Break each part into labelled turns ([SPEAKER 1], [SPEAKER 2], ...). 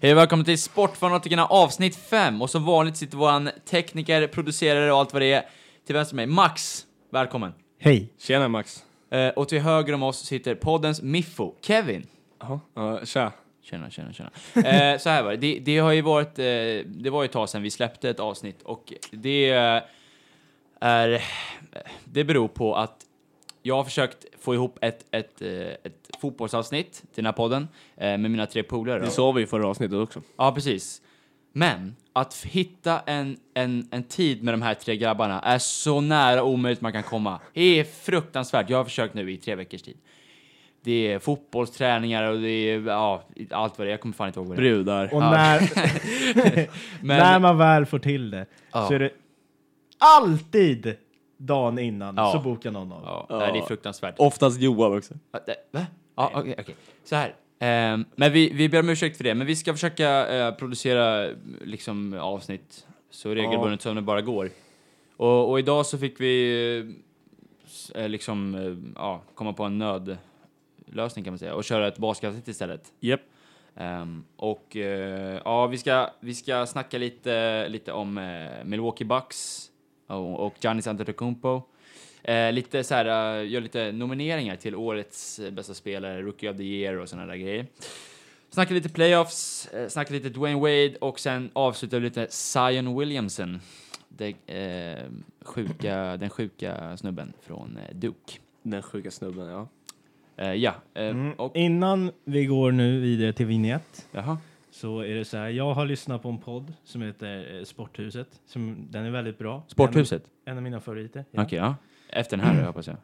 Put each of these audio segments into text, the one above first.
[SPEAKER 1] Hej och välkommen till Sportfanatikerna avsnitt 5. Och som vanligt sitter våran tekniker, producerare och allt vad det är till vänster om mig. Max, välkommen.
[SPEAKER 2] Hej.
[SPEAKER 3] Tjena Max.
[SPEAKER 1] Eh, och till höger om oss sitter poddens miffo, Kevin.
[SPEAKER 3] Ja, tja.
[SPEAKER 1] Tjena, tjena, tjena. Eh, så här var det. det. Det har ju varit, eh, det var ju ett tag sedan vi släppte ett avsnitt och det eh, är, eh, det beror på att jag har försökt få ihop ett, ett, eh, ett fotbollsavsnitt till den här podden eh, med mina tre polare. då.
[SPEAKER 3] Det sa vi i förra avsnittet också.
[SPEAKER 1] Ja, precis. Men att f- hitta en, en, en tid med de här tre grabbarna är så nära omöjligt man kan komma. Det är fruktansvärt. Jag har försökt nu i tre veckors tid. Det är fotbollsträningar och det är ja, allt vad det är. Jag kommer fan inte ihåg vad det är.
[SPEAKER 3] Brudar.
[SPEAKER 2] Och
[SPEAKER 1] Ja.
[SPEAKER 2] när,
[SPEAKER 1] Men,
[SPEAKER 2] när man väl får till det
[SPEAKER 1] Ja.
[SPEAKER 2] så är det alltid dagen innan
[SPEAKER 1] Ja.
[SPEAKER 2] så bokar någon av.
[SPEAKER 1] ja, nej, det är fruktansvärt.
[SPEAKER 3] Oftast Johan också.
[SPEAKER 1] Ja, Ah, det- Va? Ja, okej, okej. Så här. Ehm, men vi, vi ber om ursäkt för det, men vi ska försöka eh, producera eh, liksom, avsnitt så regelbundet som det bara går. Och, och idag så fick vi eh, s- eh, liksom, eh, ja, komma på en nödlösning kan man säga och köra ett basketavsnitt istället.
[SPEAKER 3] Japp.
[SPEAKER 1] Ehm, och eh, ja, vi ska, vi ska snacka lite, lite om eh, Milwaukee Bucks och, och Giannis Antetokounmpo. Eh, lite så här, eh, gör lite nomineringar till årets eh, bästa spelare, Rookie of the Year och såna där grejer. Snacka lite playoffs, eh, snacka lite Dwayne Wade och sen avsluta lite Zion Williamson. Det, eh, sjuka, den sjuka snubben från eh, Duke.
[SPEAKER 3] Den sjuka snubben, ja.
[SPEAKER 1] Eh, ja, eh,
[SPEAKER 2] Mm.
[SPEAKER 1] och...
[SPEAKER 2] Innan vi går nu vidare till vignett
[SPEAKER 1] Jaha.
[SPEAKER 2] så är det så här. Jag har lyssnat på en podd som heter eh, Sporthuset. Som, den är väldigt bra.
[SPEAKER 1] Sporthuset?
[SPEAKER 2] En, en av mina favoriter. ja.
[SPEAKER 1] Okej, ja. Efter den här då, hoppas jag.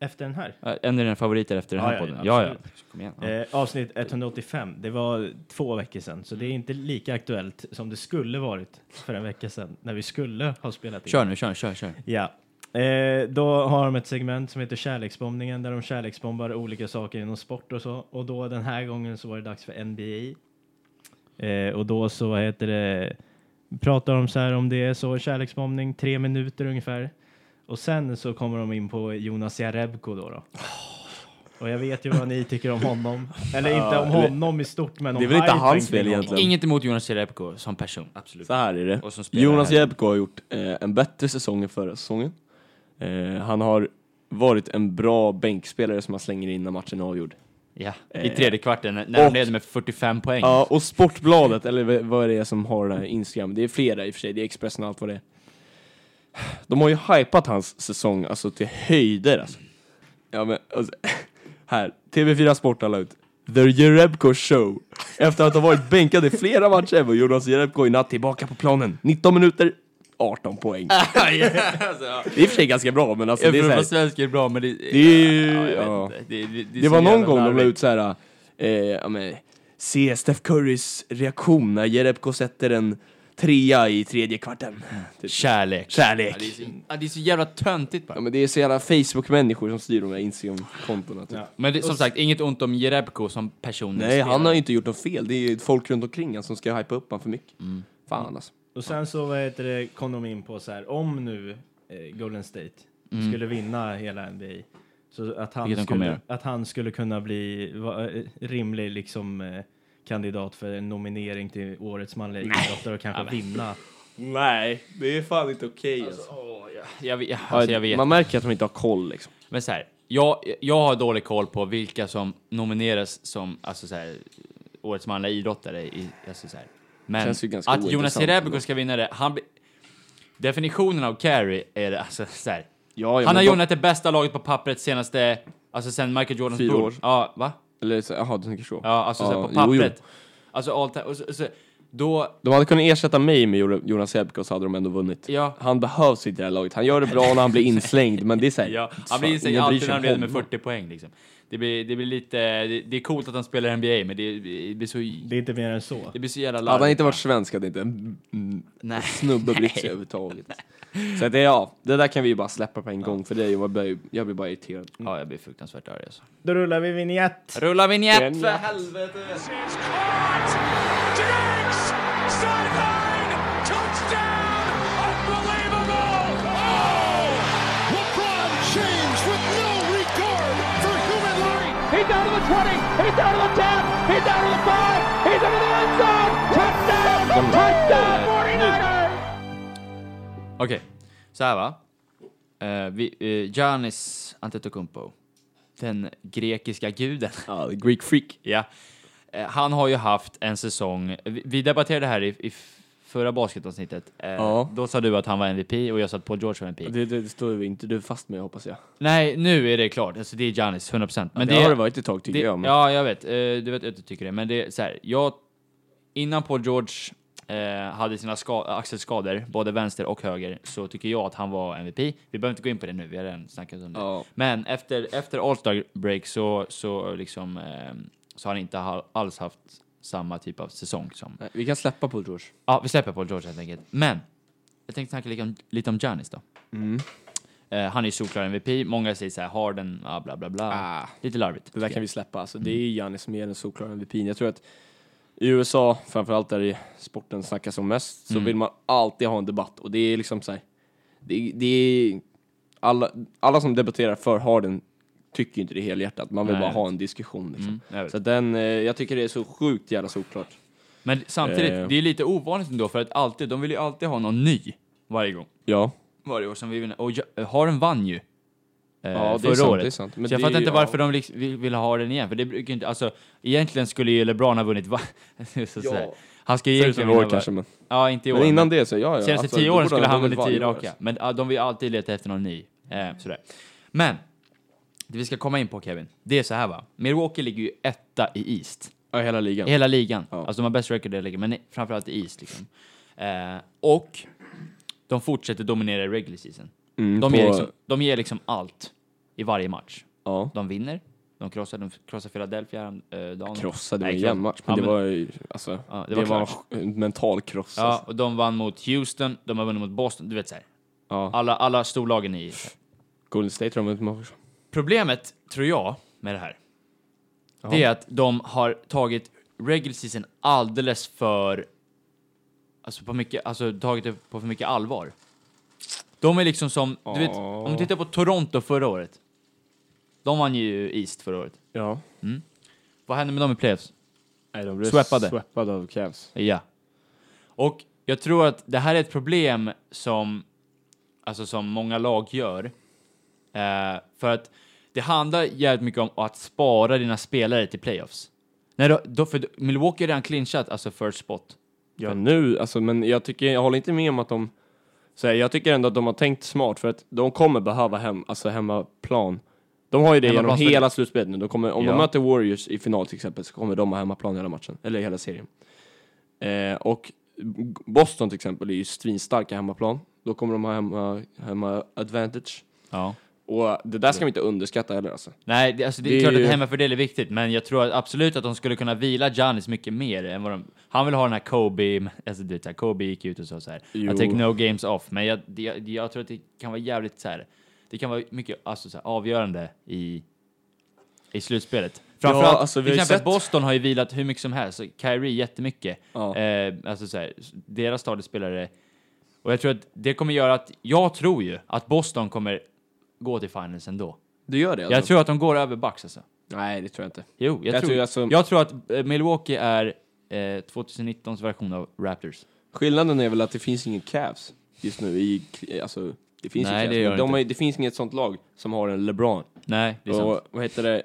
[SPEAKER 2] Efter den här.
[SPEAKER 1] Äh, En av dina favoriter efter den
[SPEAKER 2] Ja,
[SPEAKER 1] här
[SPEAKER 2] ja,
[SPEAKER 1] podden? Ja,
[SPEAKER 2] ja,
[SPEAKER 1] ja.
[SPEAKER 2] absolut.
[SPEAKER 1] Kom igen. Ja.
[SPEAKER 2] Eh, avsnitt 185. Det var två veckor sedan, så det är
[SPEAKER 1] Mm.
[SPEAKER 2] inte lika aktuellt som det skulle varit för en vecka sedan när vi skulle ha spelat in.
[SPEAKER 1] Kör nu, kör, kör, kör.
[SPEAKER 2] Ja. Eh, då har de ett segment som heter Kärleksbombningen där de kärleksbombar olika saker inom sport och så. Och då den här gången så var det dags för NBA. Eh, och då så vad heter det, pratar de så här om det, så kärleksbombning, tre minuter ungefär. Och sen så kommer de in på Jonas Jarebko då. då. Och jag vet ju vad ni tycker om honom. Eller inte om honom i stort, men om
[SPEAKER 3] Det är väl inte
[SPEAKER 2] hypen
[SPEAKER 3] hans
[SPEAKER 2] kring
[SPEAKER 3] fel
[SPEAKER 2] honom.
[SPEAKER 3] egentligen.
[SPEAKER 1] Inget emot Jonas Jerebko som person. Absolut.
[SPEAKER 3] Så här är det.
[SPEAKER 1] Och som spelar
[SPEAKER 3] Jonas
[SPEAKER 1] här.
[SPEAKER 3] Jerebko har gjort eh, en bättre säsong än förra säsongen. Eh, han har varit en bra bänkspelare som man slänger in när matchen är avgjord.
[SPEAKER 1] Ja, i
[SPEAKER 3] Eh,
[SPEAKER 1] tredje kvarten när de
[SPEAKER 3] och-
[SPEAKER 1] leder med 45 poäng.
[SPEAKER 3] Ja, och Sportbladet, eller v- vad är det som har den här Instagram? Det är flera i och för sig, det är Expressen och allt vad det är. De har ju hypat hans säsong alltså till höjder alltså. Ja men, alltså, här. TV4 Sport har la ut The Jerebko Show. Efter att ha varit bänkad i flera matcher var Jonas Jerebko i natt tillbaka på planen. 19 minuter, 18 poäng.
[SPEAKER 1] alltså, ja.
[SPEAKER 3] Det är i och för sig ganska bra, men alltså
[SPEAKER 1] Jag
[SPEAKER 3] det är
[SPEAKER 1] tror
[SPEAKER 3] så
[SPEAKER 1] att
[SPEAKER 3] här,
[SPEAKER 1] svensk är bra, men det...
[SPEAKER 3] Det är ju-
[SPEAKER 1] jag vet
[SPEAKER 3] ja.
[SPEAKER 1] inte. Det, det, det är
[SPEAKER 3] Det
[SPEAKER 1] så
[SPEAKER 3] var någon
[SPEAKER 1] jävla
[SPEAKER 3] gång de la
[SPEAKER 1] larvigt.
[SPEAKER 3] ut så här, eh, ja, men, se Steph Currys reaktion när Jerebko sätter en trea i tredje kvarten. Typ.
[SPEAKER 1] Kärlek. Ja,
[SPEAKER 3] Kärlek.
[SPEAKER 1] det, är så, ja, det är så jävla töntigt bara.
[SPEAKER 3] Ja, men det är så jävla Facebook-människor som styr de här Instagram-kontona. Typ.
[SPEAKER 2] Ja.
[SPEAKER 1] Men det, som sagt, inget ont om Jerebko som person.
[SPEAKER 3] Nej, han har ju inte gjort något fel. Det är ju folk runt omkring honom som ska hypa upp honom för mycket. Fan alltså.
[SPEAKER 2] Och sen så vad heter det, kom de in på så här, om nu eh, Golden State skulle vinna hela NBA, så att han,
[SPEAKER 1] Mm. Vilket de kommer
[SPEAKER 2] skulle,
[SPEAKER 1] göra.
[SPEAKER 2] att han skulle kunna bli va, eh, rimlig liksom, eh, kandidat för en nominering till årets manliga idrottare och kanske vinna.
[SPEAKER 3] Nej, det är fan inte okej
[SPEAKER 1] Jag, vet- alltså, jag vet
[SPEAKER 3] Man märker att de inte har koll liksom.
[SPEAKER 1] Men så här, jag, jag har dålig koll på vilka som nomineras som alltså så här, årets manliga idrottare. I, alltså så här. Men
[SPEAKER 3] Känns ju ganska
[SPEAKER 1] att Jonas
[SPEAKER 3] ointressant
[SPEAKER 1] Jerebko
[SPEAKER 3] ändå.
[SPEAKER 1] ska vinna det, han... blir- Definitionen av carry är det, alltså så här.
[SPEAKER 3] Ja, ja,
[SPEAKER 1] Han har
[SPEAKER 3] men
[SPEAKER 1] joinat det bästa laget på pappret senaste... Alltså sen Michael Jordans
[SPEAKER 3] Fyra
[SPEAKER 1] bror.
[SPEAKER 3] år.
[SPEAKER 1] Ja, va?
[SPEAKER 3] de- Eller, så- jaha, du tänker så.
[SPEAKER 1] Ja, alltså så här,
[SPEAKER 3] Ja,
[SPEAKER 1] på
[SPEAKER 3] jo, jo.
[SPEAKER 1] pappret. Alltså all time, och så, så, då...
[SPEAKER 3] De hade kunnat ersätta mig med Jo- Jonas Jerebko så hade de ändå vunnit.
[SPEAKER 1] Ja.
[SPEAKER 3] Han behövs inte i det här laget. Han gör det bra när han blir inslängd, men det är såhär...
[SPEAKER 1] Ja, han blir instängd alltid när han leder med 40 poäng liksom. Det blir, det blir lite... Det, det är coolt att han spelar i NBA, men det, det blir så...
[SPEAKER 2] Det är inte mer än så.
[SPEAKER 1] Det blir så jävla
[SPEAKER 3] Hade han inte
[SPEAKER 1] larvigt.
[SPEAKER 3] varit svensk hade inte en mm,
[SPEAKER 1] Nej.
[SPEAKER 3] snubbe brytt sig överhuvudtaget. Så att det, ja, det där kan vi ju bara släppa på en gång för det, är ju- jag blir, jag blir bara irriterad.
[SPEAKER 1] Ja, jag blir fruktansvärt arg alltså.
[SPEAKER 2] Då rullar vi vignett.
[SPEAKER 1] Rulla vignett
[SPEAKER 3] Vignett.
[SPEAKER 1] för helvete!
[SPEAKER 4] is caught. Diggs! Sideline! Touchdown! Unbelievable! Oh! LeBron James with no regard for human life.
[SPEAKER 5] He's down to the 20. He's down to the 10. He's down to the 5. He He's into the end zone! Touchdown! Touchdown! 49ers!
[SPEAKER 1] Okej, så här va. Eh, vi, eh, Giannis Antetokounmpo, den grekiska guden.
[SPEAKER 3] Ja, Greek freak.
[SPEAKER 1] ja. Eh, han har ju haft en säsong, vi, vi debatterade det här i, i förra basketavsnittet. Eh,
[SPEAKER 3] Ja.
[SPEAKER 1] Då sa du att han var MVP och jag sa att Paul George var MVP.
[SPEAKER 3] Det, det, det står ju inte du fast med hoppas jag.
[SPEAKER 1] Nej, nu är det klart. Alltså det är Giannis, 100%. Men
[SPEAKER 3] Men det, har det varit ett tag tycker
[SPEAKER 1] det,
[SPEAKER 3] jag. Men,
[SPEAKER 1] Ja, jag vet. Eh, Du vet att du tycker det. Men det är så här, jag... Innan Paul George eh, hade sina ska- axelskador, både vänster och höger, så tycker jag att han var MVP. Vi behöver inte gå in på det nu, vi har redan snackat om det.
[SPEAKER 3] Ja.
[SPEAKER 1] Men efter, efter All-Star break så, så, liksom, eh, så har han inte ha- alls haft samma typ av säsong som...
[SPEAKER 3] Nej, Vi kan släppa på George.
[SPEAKER 1] Ja, vi släpper Paul George helt enkelt. Men, jag tänkte snacka lite om, lite om Giannis då.
[SPEAKER 3] Mm.
[SPEAKER 1] Eh, han är ju solklar MVP, många säger så här, Harden, ah, bla bla bla.
[SPEAKER 3] Ah.
[SPEAKER 1] Lite larvigt.
[SPEAKER 3] Det där kan vi släppa. Alltså, det är Giannis som är den solklara MVP'n. Jag tror att i USA, framförallt där i sporten snackas om mest, så vill man alltid ha en debatt. Och det är liksom så här, det, det är, alla, alla som debatterar för Harden tycker ju inte det helhjärtat. Man vill
[SPEAKER 1] Nej,
[SPEAKER 3] bara
[SPEAKER 1] jag
[SPEAKER 3] ha en diskussion. Liksom.
[SPEAKER 1] jag vet.
[SPEAKER 3] så den, eh, jag tycker det är så sjukt jävla solklart.
[SPEAKER 1] Men samtidigt,
[SPEAKER 3] Eh.
[SPEAKER 1] det är lite ovanligt ändå för att alltid, de vill ju alltid ha någon ny varje gång.
[SPEAKER 3] Ja.
[SPEAKER 1] Varje år som vi vinner. Och ja- Harden vann ju. eh,
[SPEAKER 3] Ja, det är
[SPEAKER 1] förra
[SPEAKER 3] sant,
[SPEAKER 1] året.
[SPEAKER 3] det är sant. Men
[SPEAKER 1] så jag
[SPEAKER 3] det är
[SPEAKER 1] fattar
[SPEAKER 3] ju-
[SPEAKER 1] inte varför
[SPEAKER 3] ja.
[SPEAKER 1] de liksom vill, vill ha den igen. För det brukar ju inte, alltså, egentligen skulle ju LeBron ha vunnit va? så att
[SPEAKER 3] Ja.
[SPEAKER 1] säga. Han ska ju egentligen
[SPEAKER 3] Förutom i år
[SPEAKER 1] var-
[SPEAKER 3] kanske, men,
[SPEAKER 1] Ja, inte i år.
[SPEAKER 3] men innan
[SPEAKER 1] men
[SPEAKER 3] det så, ja ja.
[SPEAKER 1] Senaste
[SPEAKER 3] alltså,
[SPEAKER 1] tio
[SPEAKER 3] då
[SPEAKER 1] åren
[SPEAKER 3] borde
[SPEAKER 1] skulle han
[SPEAKER 3] ha
[SPEAKER 1] vunnit
[SPEAKER 3] vunnit
[SPEAKER 1] tio
[SPEAKER 3] varje år,
[SPEAKER 1] raka. Men ja, de vill ju alltid leta efter någon ny. Eh, sådär. Men, det vi ska komma in på Kevin, det är så här va. Milwaukee ligger ju etta i East.
[SPEAKER 3] Ja, hela ligan.
[SPEAKER 1] I hela ligan.
[SPEAKER 3] Ja.
[SPEAKER 1] Alltså de har bäst record i hela ligan, men nej, framförallt i East liksom. Eh, och de fortsätter dominera i regular season.
[SPEAKER 3] Mm,
[SPEAKER 1] De,
[SPEAKER 3] på-
[SPEAKER 1] ger liksom, de ger liksom allt i varje match.
[SPEAKER 3] Ja.
[SPEAKER 1] De vinner, de krossar, de krossar Philadelphia eh, häromdagen.
[SPEAKER 3] Krossade, det var
[SPEAKER 1] Nej,
[SPEAKER 3] en
[SPEAKER 1] kross-
[SPEAKER 3] jämn match. Men
[SPEAKER 1] Ja,
[SPEAKER 3] det var ju, alltså,
[SPEAKER 1] Ja, det
[SPEAKER 3] det
[SPEAKER 1] var
[SPEAKER 3] var, en mental kross.
[SPEAKER 1] Ja,
[SPEAKER 3] Alltså.
[SPEAKER 1] och de vann mot Houston, de har vunnit mot Boston, du vet såhär.
[SPEAKER 3] Ja.
[SPEAKER 1] Alla, alla storlagen i...
[SPEAKER 3] Golden State har de vunnit också.
[SPEAKER 1] Problemet, tror jag, med det här, det är att de har tagit regular season alldeles för... Alltså, på mycket, alltså tagit det på för mycket allvar. De är liksom som, du vet, om du tittar på Toronto förra året. De vann ju East förra året.
[SPEAKER 3] Ja.
[SPEAKER 1] Vad hände med dem i playoffs?
[SPEAKER 3] Nej, de blev
[SPEAKER 1] Sweppade.
[SPEAKER 3] sweppade av Cavs.
[SPEAKER 1] Ja. Och jag tror att det här är ett problem som, alltså som många lag gör. Eh, för att det handlar jävligt mycket om att spara dina spelare till playoffs. När du, då, för Milwaukee har redan clinchat, alltså first spot.
[SPEAKER 3] Ja, nu, alltså, men jag, tycker, jag håller inte med om att de... Så här, jag tycker ändå att de har tänkt smart för att de kommer behöva hem, alltså hemmaplan. De har ju det genom
[SPEAKER 1] Hemmaplansfördel.
[SPEAKER 3] hela slutspelet nu. De kommer, om
[SPEAKER 1] Ja.
[SPEAKER 3] de möter Warriors i final till exempel så kommer de ha hemmaplan hela matchen, eller hela serien. Eh, och Boston till exempel är ju svinstarka hemmaplan. Då kommer de ha hemma, hemma advantage.
[SPEAKER 1] Ja.
[SPEAKER 3] Och det där ska vi inte underskatta heller alltså.
[SPEAKER 1] Nej, det, alltså det är
[SPEAKER 3] Det är
[SPEAKER 1] klart
[SPEAKER 3] ju-
[SPEAKER 1] att hemmafördel är viktigt, men jag tror att absolut att de skulle kunna vila Giannis mycket mer än vad de... Han vill ha den här Kobe, alltså du vet, så här, Kobe gick ut och sa så här.
[SPEAKER 3] Jo.
[SPEAKER 1] I take no games off, men jag, det, jag, jag tror att det kan vara jävligt så här. Det kan vara mycket alltså, så här, avgörande i, i slutspelet. Framförallt,
[SPEAKER 3] alltså, vi
[SPEAKER 1] till
[SPEAKER 3] har ju
[SPEAKER 1] exempel
[SPEAKER 3] sett-
[SPEAKER 1] Boston har ju vilat hur mycket som helst, så Kyrie jättemycket.
[SPEAKER 3] Ja.
[SPEAKER 1] Eh, alltså så här, deras stadiespelare. Och jag tror att det kommer göra att, jag tror ju att Boston kommer gå till finals ändå.
[SPEAKER 3] Du gör det alltså?
[SPEAKER 1] Jag tror att de går över Bucks alltså.
[SPEAKER 3] Nej, det tror jag inte.
[SPEAKER 1] Jo, jag,
[SPEAKER 3] Jag
[SPEAKER 1] tror,
[SPEAKER 3] tror alltså-
[SPEAKER 1] jag tror att eh, Milwaukee är eh, 2019s version av Raptors.
[SPEAKER 3] Skillnaden är väl att det finns ingen Cavs just nu i, alltså, det finns
[SPEAKER 1] Nej,
[SPEAKER 3] ju Cavs,
[SPEAKER 1] det gör
[SPEAKER 3] men
[SPEAKER 1] det
[SPEAKER 3] de
[SPEAKER 1] inte.
[SPEAKER 3] har, ju- det finns inget sånt lag som har en LeBron.
[SPEAKER 1] Nej, det är sant.
[SPEAKER 3] Och vad heter det?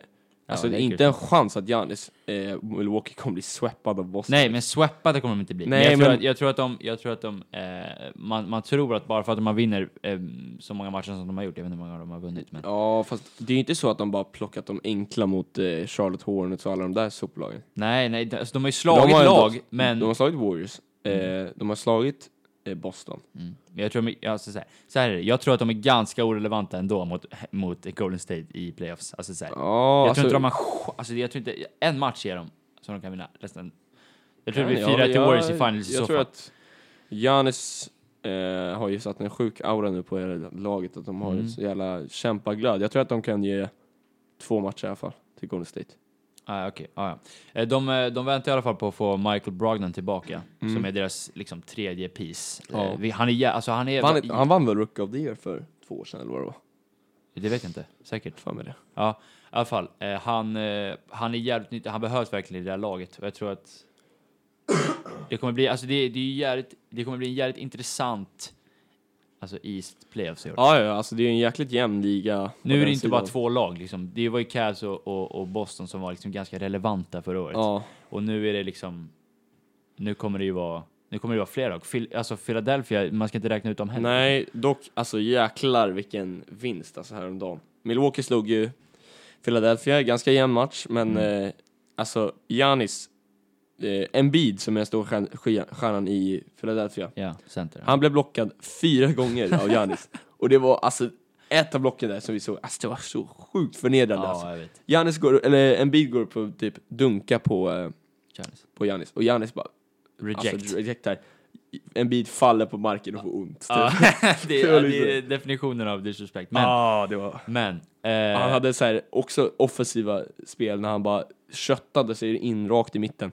[SPEAKER 3] Alltså det är
[SPEAKER 1] Lakers.
[SPEAKER 3] inte en chans att Giannis, eh, Milwaukee kommer bli sweppad av Boston.
[SPEAKER 1] Nej, men swappade kommer de inte bli.
[SPEAKER 3] Nej,
[SPEAKER 1] men jag, tror
[SPEAKER 3] men-
[SPEAKER 1] att, jag tror att de, jag tror att de eh, man, man tror att bara för att man vinner eh, så många matcher som de har gjort, jag vet inte hur många de har vunnit, men
[SPEAKER 3] Ja, fast det är ju inte så att de bara plockat de enkla mot eh, Charlotte Hornets och alla de där soplagen.
[SPEAKER 1] nej, nej, alltså, de har ju
[SPEAKER 3] De
[SPEAKER 1] slagit
[SPEAKER 3] har ändå-
[SPEAKER 1] lag, men
[SPEAKER 3] De har slagit Warriors, eh, de har slagit eh, Boston.
[SPEAKER 1] Mm. Men jag tror, de- alltså, så, här, så här är det, jag tror att de är ganska orelevanta ändå mot, mot Golden State i playoffs. Alltså, så här,
[SPEAKER 3] Ja,
[SPEAKER 1] Jag
[SPEAKER 3] alltså,
[SPEAKER 1] tror inte de har... ch- Alltså, jag tror inte... En match ger dem som de kan vinna. Resten. Jag tror det blir
[SPEAKER 3] Ja,
[SPEAKER 1] 4-1 till
[SPEAKER 3] jag-
[SPEAKER 1] Warriors i finals i
[SPEAKER 3] Jag
[SPEAKER 1] så
[SPEAKER 3] tror
[SPEAKER 1] fall.
[SPEAKER 3] att Giannis eh, har ju satt en sjuk aura nu på hela laget, att de har
[SPEAKER 1] Mm.
[SPEAKER 3] ett så jävla kämpaglöd. Jag tror att de kan ge två matcher i alla fall till Golden State.
[SPEAKER 1] Ah, okej. ah, ja. Eh, de, eh, de väntar i alla fall på att få Michael Brogdon tillbaka, som är deras liksom, tredje piece.
[SPEAKER 3] Mm. Ja.
[SPEAKER 1] Eh, vi- han är... jä- Alltså, han är...
[SPEAKER 3] Vann, han vann väl Rook of the Year för två år sedan eller vad det var?
[SPEAKER 1] Det vet jag inte. Säkert.
[SPEAKER 3] Fan med det.
[SPEAKER 1] Ja, i alla fall. Eh, han, eh, han är jävligt nyttig. Han behövs verkligen i det här laget. Och jag tror att... Det kommer bli, alltså det, det, är ju jävligt, det kommer bli en jävligt intressant alltså East playoffs i år.
[SPEAKER 3] Ja, ja, alltså det är ju en jäkligt jämn liga. på
[SPEAKER 1] Nu är
[SPEAKER 3] den
[SPEAKER 1] det inte
[SPEAKER 3] sidan.
[SPEAKER 1] bara två lag liksom. Det var ju Cavs och, och, och Boston som var liksom ganska relevanta förra året.
[SPEAKER 3] Ja,
[SPEAKER 1] Och nu är det liksom, nu kommer det ju vara, nu kommer det vara fler lag. Phil, alltså Philadelphia, man ska inte räkna ut dem heller.
[SPEAKER 3] nej, dock alltså jäklar vilken vinst alltså häromdagen. Milwaukee slog ju Philadelphia, ganska jämn match, men
[SPEAKER 1] Mm.
[SPEAKER 3] eh, alltså Giannis, eh, Embiid som är den stora stjärn- skia- stjärnan i Philadelphia,
[SPEAKER 1] Ja, center.
[SPEAKER 3] han blev blockad fyra gånger av Giannis. Och det var alltså ett av blocken där som vi såg, alltså det var så sjukt förnedrande alltså.
[SPEAKER 1] ja, jag vet.
[SPEAKER 3] Giannis går, eller Embiid går upp och typ dunka på, eh,
[SPEAKER 1] Giannis.
[SPEAKER 3] på Giannis och Giannis bara
[SPEAKER 1] Reject.
[SPEAKER 3] Alltså, rejectar. Embiid faller på marken och får ont. typ.
[SPEAKER 1] Ja, det,
[SPEAKER 3] Det var
[SPEAKER 1] är, det är
[SPEAKER 3] lite-
[SPEAKER 1] definitionen av disrespect. Men,
[SPEAKER 3] ah, det var...
[SPEAKER 1] men. eh,
[SPEAKER 3] Han hade så här också offensiva spel när han bara köttade sig in rakt i mitten.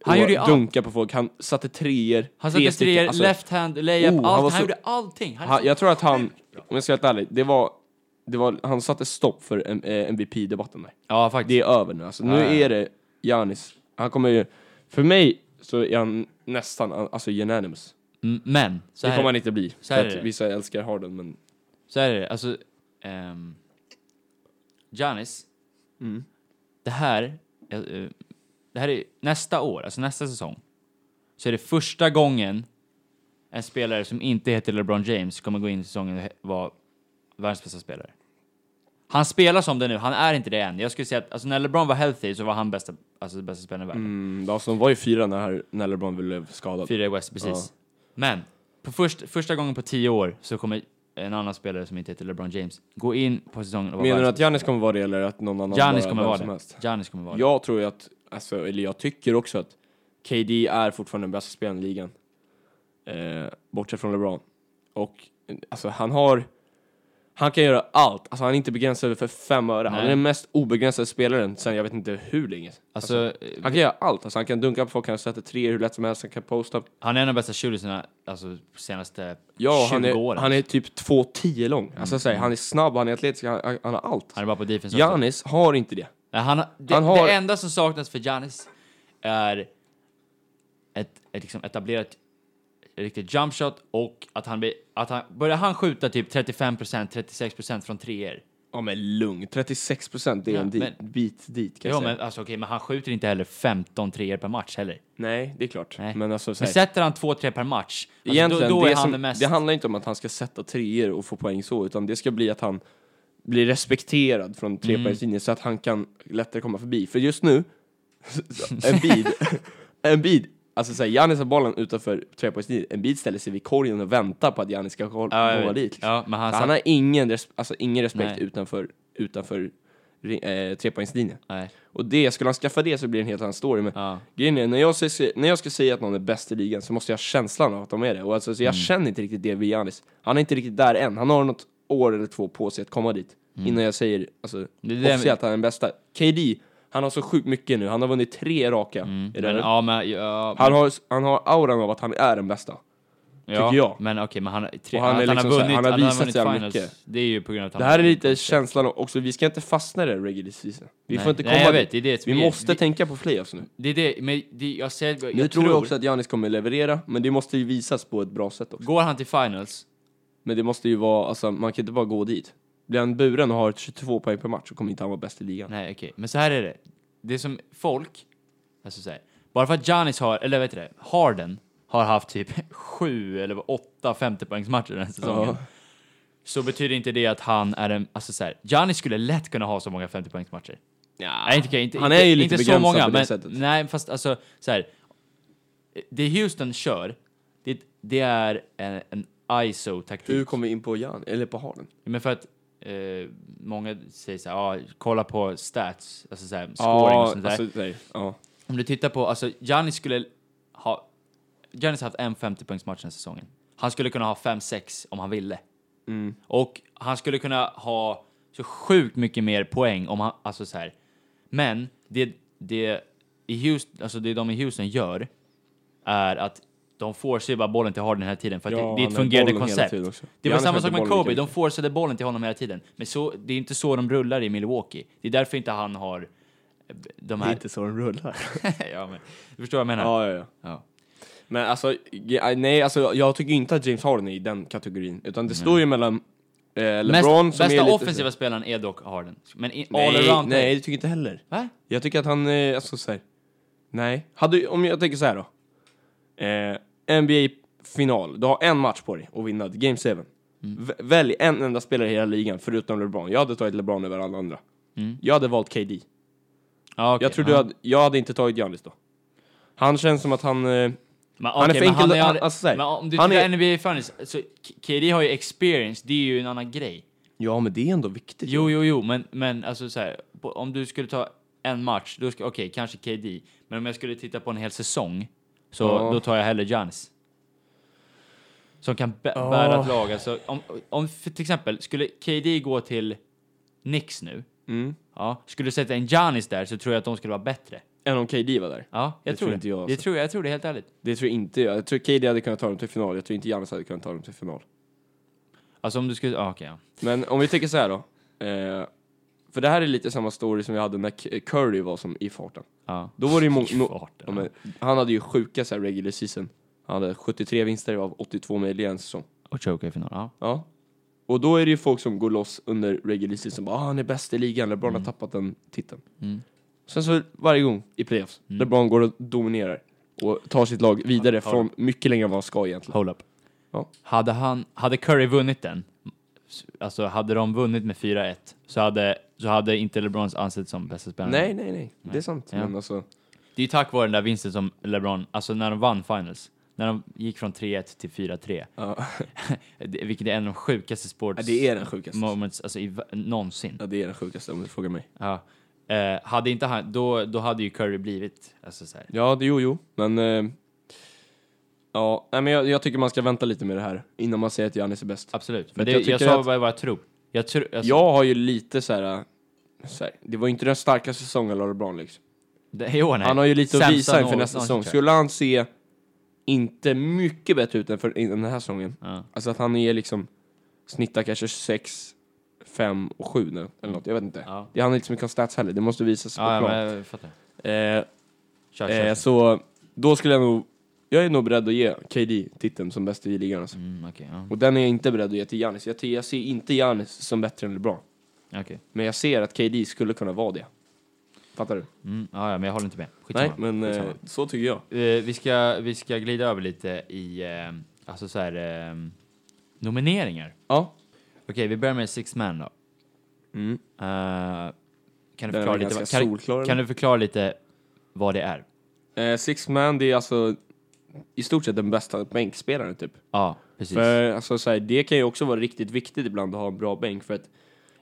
[SPEAKER 1] Han
[SPEAKER 3] och
[SPEAKER 1] gjorde ju allt.
[SPEAKER 3] dunkade på folk. Han satte treor.
[SPEAKER 1] han
[SPEAKER 3] tre
[SPEAKER 1] satte
[SPEAKER 3] stycken.
[SPEAKER 1] treor,
[SPEAKER 3] Alltså,
[SPEAKER 1] left hand, layup,
[SPEAKER 3] Oh, han
[SPEAKER 1] allt. Han,
[SPEAKER 3] var så-
[SPEAKER 1] gjorde allting. Han, liksom-
[SPEAKER 3] han, jag tror att han, om jag ska vara helt ärlig, det var, det var, han satte stopp för M- eh, MVP-debatten där.
[SPEAKER 1] ja, faktiskt.
[SPEAKER 3] Det är över nu alltså. Nu
[SPEAKER 1] Ja, ja.
[SPEAKER 3] är det Giannis. Han kommer ju, för mig så är han nästan, alltså unanimous.
[SPEAKER 1] Mm, Men, så
[SPEAKER 3] Det
[SPEAKER 1] här,
[SPEAKER 3] kommer han inte bli.
[SPEAKER 1] så här
[SPEAKER 3] för
[SPEAKER 1] är
[SPEAKER 3] att
[SPEAKER 1] det.
[SPEAKER 3] vissa älskar Harden men
[SPEAKER 1] så här är det. Alltså, ehm, Giannis, det här, eh, eh, det här är nästa år, alltså nästa säsong, så är det första gången en spelare som inte heter LeBron James kommer gå in i säsongen och he- vara världens bästa spelare. Han spelar som det nu, han är inte det än. Jag skulle säga att alltså, när LeBron var healthy så var han bästa, alltså, bästa spelaren i världen.
[SPEAKER 3] Mm, alltså de var ju fyra när, när LeBron blev skadad.
[SPEAKER 1] Fyra i West, precis. Men på först, första gången på tio år så kommer en annan spelare som inte heter LeBron James gå in på säsongen och vara
[SPEAKER 3] Menar du
[SPEAKER 1] världs-
[SPEAKER 3] att Giannis kommer vara det eller att någon annan
[SPEAKER 1] Giannis
[SPEAKER 3] bara-
[SPEAKER 1] kommer
[SPEAKER 3] vem
[SPEAKER 1] vara
[SPEAKER 3] som
[SPEAKER 1] det.
[SPEAKER 3] helst?
[SPEAKER 1] Giannis kommer vara det.
[SPEAKER 3] Jag tror ju att, alltså, eller jag tycker också att KD är fortfarande den bästa spelaren i ligan. Eh, bortsett från LeBron. Och eh, alltså han har, han kan göra allt. Alltså han är inte begränsad för fem öre. Han
[SPEAKER 1] Nej.
[SPEAKER 3] är den mest obegränsade spelaren sen jag vet inte hur länge.
[SPEAKER 1] Alltså, eh,
[SPEAKER 3] Han kan göra allt. Alltså han kan dunka på folk, han sätter tre hur lätt som helst, han kan posta.
[SPEAKER 1] han är en av de bästa shootersna alltså, senaste
[SPEAKER 3] Ja,
[SPEAKER 1] 20
[SPEAKER 3] han är,
[SPEAKER 1] åren.
[SPEAKER 3] han är typ 2,10 lång.
[SPEAKER 1] Mm.
[SPEAKER 3] Alltså, så här, han är snabb, han är atletisk, han, han- han har allt.
[SPEAKER 1] Han är bara på defense också.
[SPEAKER 3] Giannis har inte det.
[SPEAKER 1] Nej, han, har- det,
[SPEAKER 3] han har-
[SPEAKER 1] det enda som saknas för Giannis är ett, ett liksom etablerat riktigt jumpshot och att han, blir, att han börjar han skjuta typ 35%, 36% från treor
[SPEAKER 3] Ja men lugn, 36 procent det är
[SPEAKER 1] Ja,
[SPEAKER 3] en dit,
[SPEAKER 1] men-
[SPEAKER 3] bit dit kan
[SPEAKER 1] Ja,
[SPEAKER 3] jag säga.
[SPEAKER 1] men, alltså, okej, men han skjuter inte heller 15 treor per match heller.
[SPEAKER 3] Nej, det är klart.
[SPEAKER 1] Nej.
[SPEAKER 3] Men alltså så
[SPEAKER 1] Men
[SPEAKER 3] här,
[SPEAKER 1] sätter han två tre per match, alltså, då,
[SPEAKER 3] egentligen,
[SPEAKER 1] då är
[SPEAKER 3] det,
[SPEAKER 1] han
[SPEAKER 3] som,
[SPEAKER 1] den mest...
[SPEAKER 3] det handlar inte om att han ska sätta treor och få poäng så, utan det ska bli att han blir respekterad från
[SPEAKER 1] Mm.
[SPEAKER 3] trepoängslinjen så att han kan lättare komma förbi. För just nu, en bid, en bid, alltså såhär, Giannis har bollen utanför trepoängslinjen, en bid ställer sig vid korgen och väntar på att Giannis ska komma
[SPEAKER 1] Ja, jag
[SPEAKER 3] komma
[SPEAKER 1] vet.
[SPEAKER 3] dit. Liksom.
[SPEAKER 1] Ja, men han,
[SPEAKER 3] Så han
[SPEAKER 1] satt-
[SPEAKER 3] har ingen, res- alltså, ingen respekt
[SPEAKER 1] Nej.
[SPEAKER 3] utanför, utanför ri- eh, trepoängslinjen.
[SPEAKER 1] Nej.
[SPEAKER 3] Och det, skulle han skaffa det så blir det en helt annan story. Men
[SPEAKER 1] Ja.
[SPEAKER 3] grejen är, när jag, ska, när jag ska säga att någon är bäst i ligan så måste jag ha känslan av att de är det. Och alltså, så jag
[SPEAKER 1] Mm.
[SPEAKER 3] känner inte riktigt det vid Giannis. Han är inte riktigt där än. Han har något år eller två på sig att komma dit. Innan jag säger, alltså,
[SPEAKER 1] Mm. Det är det-
[SPEAKER 3] officiellt att han är den bästa. KD, han har så sjukt mycket nu. Han har vunnit tre raka. Är det
[SPEAKER 1] Mm. Men,
[SPEAKER 3] rätt?
[SPEAKER 1] ja, men, ja,
[SPEAKER 3] han, har, han har auran av att han är den bästa.
[SPEAKER 1] ja,
[SPEAKER 3] tycker jag.
[SPEAKER 1] Men okej, men han, tre,
[SPEAKER 3] Och han är
[SPEAKER 1] att
[SPEAKER 3] liksom så här, han har
[SPEAKER 1] att
[SPEAKER 3] visat så jävla
[SPEAKER 1] finals,
[SPEAKER 3] mycket.
[SPEAKER 1] Det är ju på grund av att han
[SPEAKER 3] Det här är lite känslan av- också, vi ska inte fastna i det regular season. Vi
[SPEAKER 1] Nej.
[SPEAKER 3] får inte
[SPEAKER 1] Nej,
[SPEAKER 3] komma
[SPEAKER 1] jag vet,
[SPEAKER 3] dit.
[SPEAKER 1] det är det som
[SPEAKER 3] Vi
[SPEAKER 1] är-
[SPEAKER 3] måste
[SPEAKER 1] vi-
[SPEAKER 3] tänka på playoffs nu.
[SPEAKER 1] Det är det, men det, jag säger... Jag
[SPEAKER 3] Nu tror jag också att Giannis kommer leverera, men det måste ju visas på ett bra sätt också.
[SPEAKER 1] Går han till finals,
[SPEAKER 3] Men det måste ju vara, alltså man kan inte bara gå dit. Blir han buren och har 22 poäng per match så kommer inte han vara bäst i ligan.
[SPEAKER 1] Nej, okej. Men så här är det. Det som folk... Alltså så här, bara för att Giannis har, eller vet du det, Harden har haft typ sju eller åtta 50-poängsmatcher den här säsongen.
[SPEAKER 3] Ja.
[SPEAKER 1] Så betyder inte det att han är en... Alltså så här, Giannis skulle lätt kunna ha så många 50-poängsmatcher. Nej, inte, inte,
[SPEAKER 3] Han är ju
[SPEAKER 1] inte,
[SPEAKER 3] lite
[SPEAKER 1] inte så
[SPEAKER 3] begränsad
[SPEAKER 1] många,
[SPEAKER 3] på det
[SPEAKER 1] men,
[SPEAKER 3] sättet.
[SPEAKER 1] Nej, fast alltså så här. Det Houston kör, det, det är en, en
[SPEAKER 3] Hur
[SPEAKER 1] ISO-taktik.
[SPEAKER 3] kommer vi in på Jan, eller på Harden?
[SPEAKER 1] Men för att eh, många säger så här, ah, kolla på stats, alltså så här, scoring och sånt där.
[SPEAKER 3] alltså, nej. Ja.
[SPEAKER 1] Om du tittar på, alltså Giannis skulle ha... Giannis har haft en 50-poängsmatch den här säsongen. Han skulle kunna ha 5-6 om han ville.
[SPEAKER 3] Mm.
[SPEAKER 1] Och han skulle kunna ha så sjukt mycket mer poäng om han, alltså så här. Men det, det, i Houston, alltså det de i Houston gör är att de forcear bara bollen till Harden hela tiden för att
[SPEAKER 3] Ja,
[SPEAKER 1] det, det är
[SPEAKER 3] han
[SPEAKER 1] ett
[SPEAKER 3] har
[SPEAKER 1] fungerande
[SPEAKER 3] bollen hela
[SPEAKER 1] koncept.
[SPEAKER 3] tiden också.
[SPEAKER 1] Det var
[SPEAKER 3] Giannis
[SPEAKER 1] samma
[SPEAKER 3] har
[SPEAKER 1] sak
[SPEAKER 3] inte
[SPEAKER 1] med
[SPEAKER 3] bollen
[SPEAKER 1] Kobe,
[SPEAKER 3] lika
[SPEAKER 1] de forceade bollen till honom hela tiden. Men så, det är inte så de rullar i Milwaukee. Det är därför inte han har de
[SPEAKER 3] Det är
[SPEAKER 1] här...
[SPEAKER 3] inte så den rullar.
[SPEAKER 1] ja, men, du förstår vad jag menar?
[SPEAKER 3] ja, ja, ja.
[SPEAKER 1] Ja.
[SPEAKER 3] Men alltså, ge- nej, alltså, jag tycker inte att James Harden är i den kategorin. Utan det står ju mellan eh, LeBron
[SPEAKER 1] Mm. Mest,
[SPEAKER 3] som
[SPEAKER 1] bästa
[SPEAKER 3] är lite...
[SPEAKER 1] offensiva typ. spelaren är dock Harden. Men i, all
[SPEAKER 3] Nej,
[SPEAKER 1] around...
[SPEAKER 3] nej, det tycker jag inte heller.
[SPEAKER 1] Va?
[SPEAKER 3] Jag tycker att han, eh, alltså så här. Nej. Hade, om jag tänker så här då. Eh, NBA-final. Du har en match på dig att vinna. det är Game 7. V- välj en enda spelare i hela ligan förutom LeBron. Jag hade tagit LeBron över alla andra.
[SPEAKER 1] Mm.
[SPEAKER 3] Jag hade valt KD.
[SPEAKER 1] Ja, okej,
[SPEAKER 3] jag tror du
[SPEAKER 1] ja.
[SPEAKER 3] hade, jag hade inte tagit Giannis då. Han känns som att han... Eh,
[SPEAKER 1] Men,
[SPEAKER 3] Han är
[SPEAKER 1] okej,
[SPEAKER 3] för
[SPEAKER 1] men
[SPEAKER 3] enkel-
[SPEAKER 1] han
[SPEAKER 3] han- alltså, så här,
[SPEAKER 1] men om du
[SPEAKER 3] han
[SPEAKER 1] tittar
[SPEAKER 3] är-
[SPEAKER 1] NBA Finals, så K- KD har ju experience, det är ju en annan grej.
[SPEAKER 3] ja, men det är ändå viktigt.
[SPEAKER 1] Jo, jo, jo, men, men alltså så här, på, om du skulle ta en match, då ska, okej, kanske KD, men om jag skulle titta på en hel säsong, så
[SPEAKER 3] Ja.
[SPEAKER 1] då tar jag hellre Giannis. Som kan bä- bära ett lag. Alltså, om, om för till exempel, skulle KD gå till Knicks nu,
[SPEAKER 3] Mm.
[SPEAKER 1] ja, skulle du sätta en Giannis där så tror jag att de skulle vara bättre.
[SPEAKER 3] Än om KD var där.
[SPEAKER 1] Ja, jag tror,
[SPEAKER 3] Det tror
[SPEAKER 1] det.
[SPEAKER 3] inte jag,
[SPEAKER 1] det
[SPEAKER 3] alltså.
[SPEAKER 1] tror jag, jag tror det helt ärligt.
[SPEAKER 3] Det tror jag inte. Jag tror KD hade kunnat ta dem till final. Jag tror inte Giannis hade kunnat ta dem till final.
[SPEAKER 1] Alltså om du skulle, ah, okej, ja.
[SPEAKER 3] Men om vi tänker så här då. Eh, för det här är lite samma story som vi hade när K- Curry var som i farten.
[SPEAKER 1] ja.
[SPEAKER 3] Då var det ju
[SPEAKER 1] I
[SPEAKER 3] många...
[SPEAKER 1] farten,
[SPEAKER 3] ja, men han hade ju sjuka så här regular season. Han hade 73 vinster av 82 möjliga en säsong.
[SPEAKER 1] Och choka i final, ja.
[SPEAKER 3] Ja. Och då är det ju folk som går loss under regular season. Bara, ah, han är bäst i ligan. LeBron har tappat den titeln.
[SPEAKER 1] Mm.
[SPEAKER 3] Sen så varje gång i playoffs. LeBron går och dominerar. Och tar sitt lag vidare från mycket längre än vad han ska egentligen.
[SPEAKER 1] Hold up.
[SPEAKER 3] Ja.
[SPEAKER 1] Hade, han, hade Curry vunnit den, alltså hade de vunnit med 4-1, så hade, så hade inte LeBron ansetts som bästa spelaren.
[SPEAKER 3] Nej, nej, nej. Det är sant.
[SPEAKER 1] Ja.
[SPEAKER 3] Men alltså,
[SPEAKER 1] Det är ju tack vare den där vinsten som LeBron, alltså när de vann finals, när de gick från 3-1 till 4-3,
[SPEAKER 3] ja.
[SPEAKER 1] det- vilket är en av de sjukaste sports
[SPEAKER 3] Ja, det är den sjukaste.
[SPEAKER 1] moments alltså, i, v- någonsin.
[SPEAKER 3] ja, det är den sjukaste om du frågar mig.
[SPEAKER 1] Ja. Eh, hade inte han, då, då hade ju Curry blivit, alltså så här.
[SPEAKER 3] Ja, det, jo, jo, men... Eh, ja, nej, men jag, jag tycker man ska vänta lite med det här innan man säger att Giannis är bäst.
[SPEAKER 1] absolut.
[SPEAKER 3] Men
[SPEAKER 1] Men det,
[SPEAKER 3] jag
[SPEAKER 1] jag,
[SPEAKER 3] tycker
[SPEAKER 1] sa
[SPEAKER 3] att-
[SPEAKER 1] vad jag bara tror. Jag tror, alltså,
[SPEAKER 3] Jag har ju lite så här, äh, så här... Det var ju inte den starkaste säsongen av LeBron liksom.
[SPEAKER 1] det, jo, nej.
[SPEAKER 3] Han har ju lite att
[SPEAKER 1] Sämsta
[SPEAKER 3] visa inför
[SPEAKER 1] någon-
[SPEAKER 3] nästa säsong.
[SPEAKER 1] någonsin, tror
[SPEAKER 3] Skulle han se inte mycket bättre ut än för in, den här säsongen.
[SPEAKER 1] jag. Ja.
[SPEAKER 3] Alltså att han är liksom snittar kanske 6, 5 och 7 nu. Eller något, jag vet inte.
[SPEAKER 1] Ja.
[SPEAKER 3] Det handlar inte så mycket om stats heller. Det måste visas på
[SPEAKER 1] Ja, ja,
[SPEAKER 3] plan.
[SPEAKER 1] men jag fattar.
[SPEAKER 3] Eh,
[SPEAKER 1] Kör, kör,
[SPEAKER 3] Eh,
[SPEAKER 1] kör.
[SPEAKER 3] så då skulle jag nog, jag är nog beredd att ge KD titeln som bäst i ligan alltså.
[SPEAKER 1] Mm, okej, ja.
[SPEAKER 3] Och den är jag inte beredd att ge till Giannis. Jag, t- jag ser inte Giannis som bättre än LeBron.
[SPEAKER 1] Okej.
[SPEAKER 3] Men jag ser att KD skulle kunna vara det. Fattar du?
[SPEAKER 1] Mm, ja, ja, men jag håller inte med.
[SPEAKER 3] Nej,
[SPEAKER 1] Skitsamma.
[SPEAKER 3] men eh,
[SPEAKER 1] Skitsamma.
[SPEAKER 3] så tycker jag.
[SPEAKER 1] Eh, vi, ska, vi ska glida över lite i eh, alltså så här, eh, nomineringar.
[SPEAKER 3] Ja.
[SPEAKER 1] Okej, vi börjar med Six Man då.
[SPEAKER 3] Mm.
[SPEAKER 1] Eh, kan, du
[SPEAKER 3] Den är
[SPEAKER 1] förklara
[SPEAKER 3] väl
[SPEAKER 1] lite,
[SPEAKER 3] ganska
[SPEAKER 1] vad- kan,
[SPEAKER 3] solklar,
[SPEAKER 1] kan du förklara lite vad det är?
[SPEAKER 3] Eh, six man, det är alltså i stort sett den bästa bänkspelaren typ.
[SPEAKER 1] Ja, precis.
[SPEAKER 3] För alltså så här, det kan ju också vara riktigt viktigt ibland att ha en bra bänk för att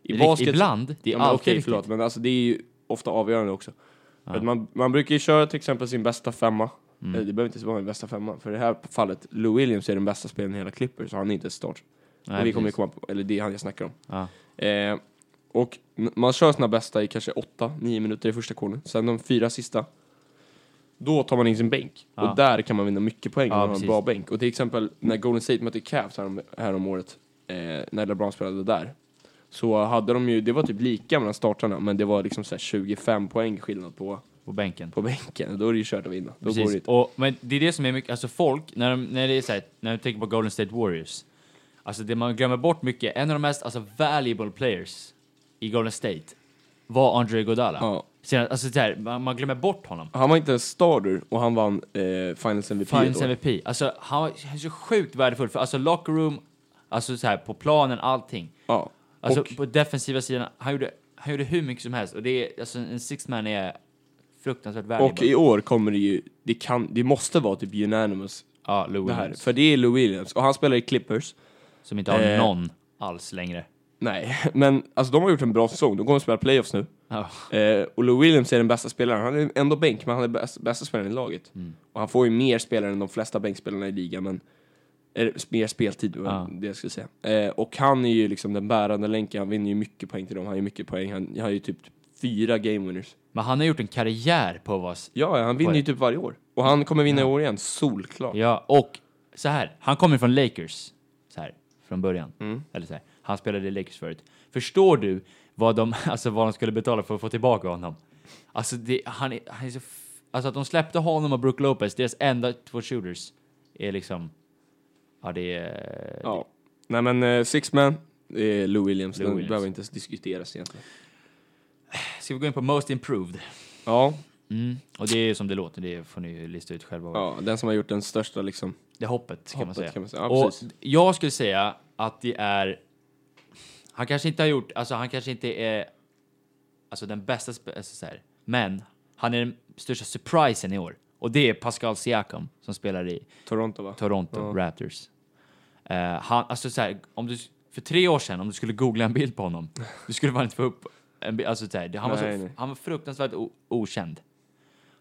[SPEAKER 3] i
[SPEAKER 1] Rik-
[SPEAKER 3] basket...
[SPEAKER 1] Ibland, det är
[SPEAKER 3] Ja, men
[SPEAKER 1] alltid
[SPEAKER 3] okej,
[SPEAKER 1] viktigt.
[SPEAKER 3] förlåt, men alltså det är ju ofta avgörande också. För att man, man brukar ju köra till exempel sin bästa femma.
[SPEAKER 1] Mm.
[SPEAKER 3] Eller, det behöver inte vara den bästa femma. För i det här fallet, Lou Williams är den bästa spelaren i hela Clippers, så han är inte start.
[SPEAKER 1] Nej,
[SPEAKER 3] och vi kommer ju
[SPEAKER 1] precis.
[SPEAKER 3] komma på, eller det är han jag snackar om.
[SPEAKER 1] Ja.
[SPEAKER 3] Eh, och n- man kör sina bästa i kanske 8-9 minuter i första kornen. Sen de fyra sista, då tar man in sin bänk.
[SPEAKER 1] Ja.
[SPEAKER 3] Och där kan man vinna mycket poäng
[SPEAKER 1] Ja,
[SPEAKER 3] om man har en
[SPEAKER 1] precis.
[SPEAKER 3] bra bänk. Och till exempel när Golden State mötte Cavs härom, härom året, eh, när LeBron spelade där, så hade de ju, det var typ lika mellan startarna, men det var liksom så här 25 poäng skillnad på,
[SPEAKER 1] På bänken.
[SPEAKER 3] på bänken. Då är det ju kört att vinna. Då går det
[SPEAKER 1] Precis.
[SPEAKER 3] ju-
[SPEAKER 1] Och, men det är det som är mycket, alltså folk, när, de, när det är så här, när de tänker på Golden State Warriors, alltså det man glömmer bort mycket, en av de mest alltså, valuable players i Golden State var Andre Godala.
[SPEAKER 3] Ja.
[SPEAKER 1] Sen, alltså det här, man, man glömmer bort honom.
[SPEAKER 3] Han var inte en starter och han vann eh, Finals MVP
[SPEAKER 1] Finals
[SPEAKER 3] då.
[SPEAKER 1] MVP. Alltså han var han är så sjukt värdefull för alltså locker room, alltså så här på planen, allting.
[SPEAKER 3] Ja.
[SPEAKER 1] Alltså
[SPEAKER 3] och,
[SPEAKER 1] på defensiva sidan, han gjorde, han gjorde hur mycket som helst och det är, alltså en six man är fruktansvärt valuable.
[SPEAKER 3] och i år kommer det ju, det kan, det måste vara typ unanimous
[SPEAKER 1] ja, Lou
[SPEAKER 3] det här.
[SPEAKER 1] Williams,
[SPEAKER 3] För det är Lou Williams och han spelar i Clippers.
[SPEAKER 1] som inte har
[SPEAKER 3] eh,
[SPEAKER 1] någon alls längre.
[SPEAKER 3] Nej, men alltså de har gjort en bra säsong. De kommer att spela playoffs nu.
[SPEAKER 1] Ja.
[SPEAKER 3] Eh, och Lou Williams är den bästa spelaren. Han är ändå bänk, men han är bäst, bästa spelaren i laget. Och han får ju mer spelare än de flesta bänkspelarna i ligan, men... Eller, mer speltid,
[SPEAKER 1] Ja.
[SPEAKER 3] var det jag skulle säga. Eh, och han är ju liksom den bärande länken. Han vinner ju mycket poäng till dem. Han har ju mycket poäng. Han har ju typ fyra game winners.
[SPEAKER 1] Men han har gjort en karriär på oss.
[SPEAKER 3] Ja, han vinner
[SPEAKER 1] Poäng.
[SPEAKER 3] ju typ varje år. Och han kommer vinna i år igen, solklart.
[SPEAKER 1] Ja, och så här. Han kommer från Lakers. Så här, från början.
[SPEAKER 3] Mm.
[SPEAKER 1] Eller så här. Han spelade i Lakers förut. Förstår du vad de, alltså vad de skulle betala för att få tillbaka honom? Alltså, det, han, är, han är så... F- alltså att de släppte honom och Brook Lopez, deras enda två shooters, är liksom... Ja, det är...
[SPEAKER 3] Ja. Nej men eh, Six Man, det är Lou Williams.
[SPEAKER 1] Lou
[SPEAKER 3] Den
[SPEAKER 1] Williams.
[SPEAKER 3] behöver inte ens diskuteras egentligen.
[SPEAKER 1] Ska vi gå in på Most Improved?
[SPEAKER 3] Ja,
[SPEAKER 1] Mm. Och det är som det låter, det får ni ju lista ut själva.
[SPEAKER 3] ja, den som har gjort den största liksom.
[SPEAKER 1] Det är hoppet, kan man
[SPEAKER 3] Hoppet,
[SPEAKER 1] säga.
[SPEAKER 3] kan man säga. Ja,
[SPEAKER 1] och
[SPEAKER 3] precis.
[SPEAKER 1] jag skulle säga att det är... Han kanske inte har gjort... Alltså, han kanske inte är alltså, den bästa... spe- Alltså, så här, men han är den största surprisen i år. Och det är Pascal Siakam som spelar i
[SPEAKER 3] Toronto va?
[SPEAKER 1] Toronto
[SPEAKER 3] Ja.
[SPEAKER 1] Raptors. Eh, han, alltså så här, om du, för tre år sedan, om du skulle googla en bild på honom, du skulle bara inte få upp en bild. Alltså så här, det- han, var
[SPEAKER 3] Nej,
[SPEAKER 1] så,
[SPEAKER 3] nej.
[SPEAKER 1] han var fruktansvärt o, okänd.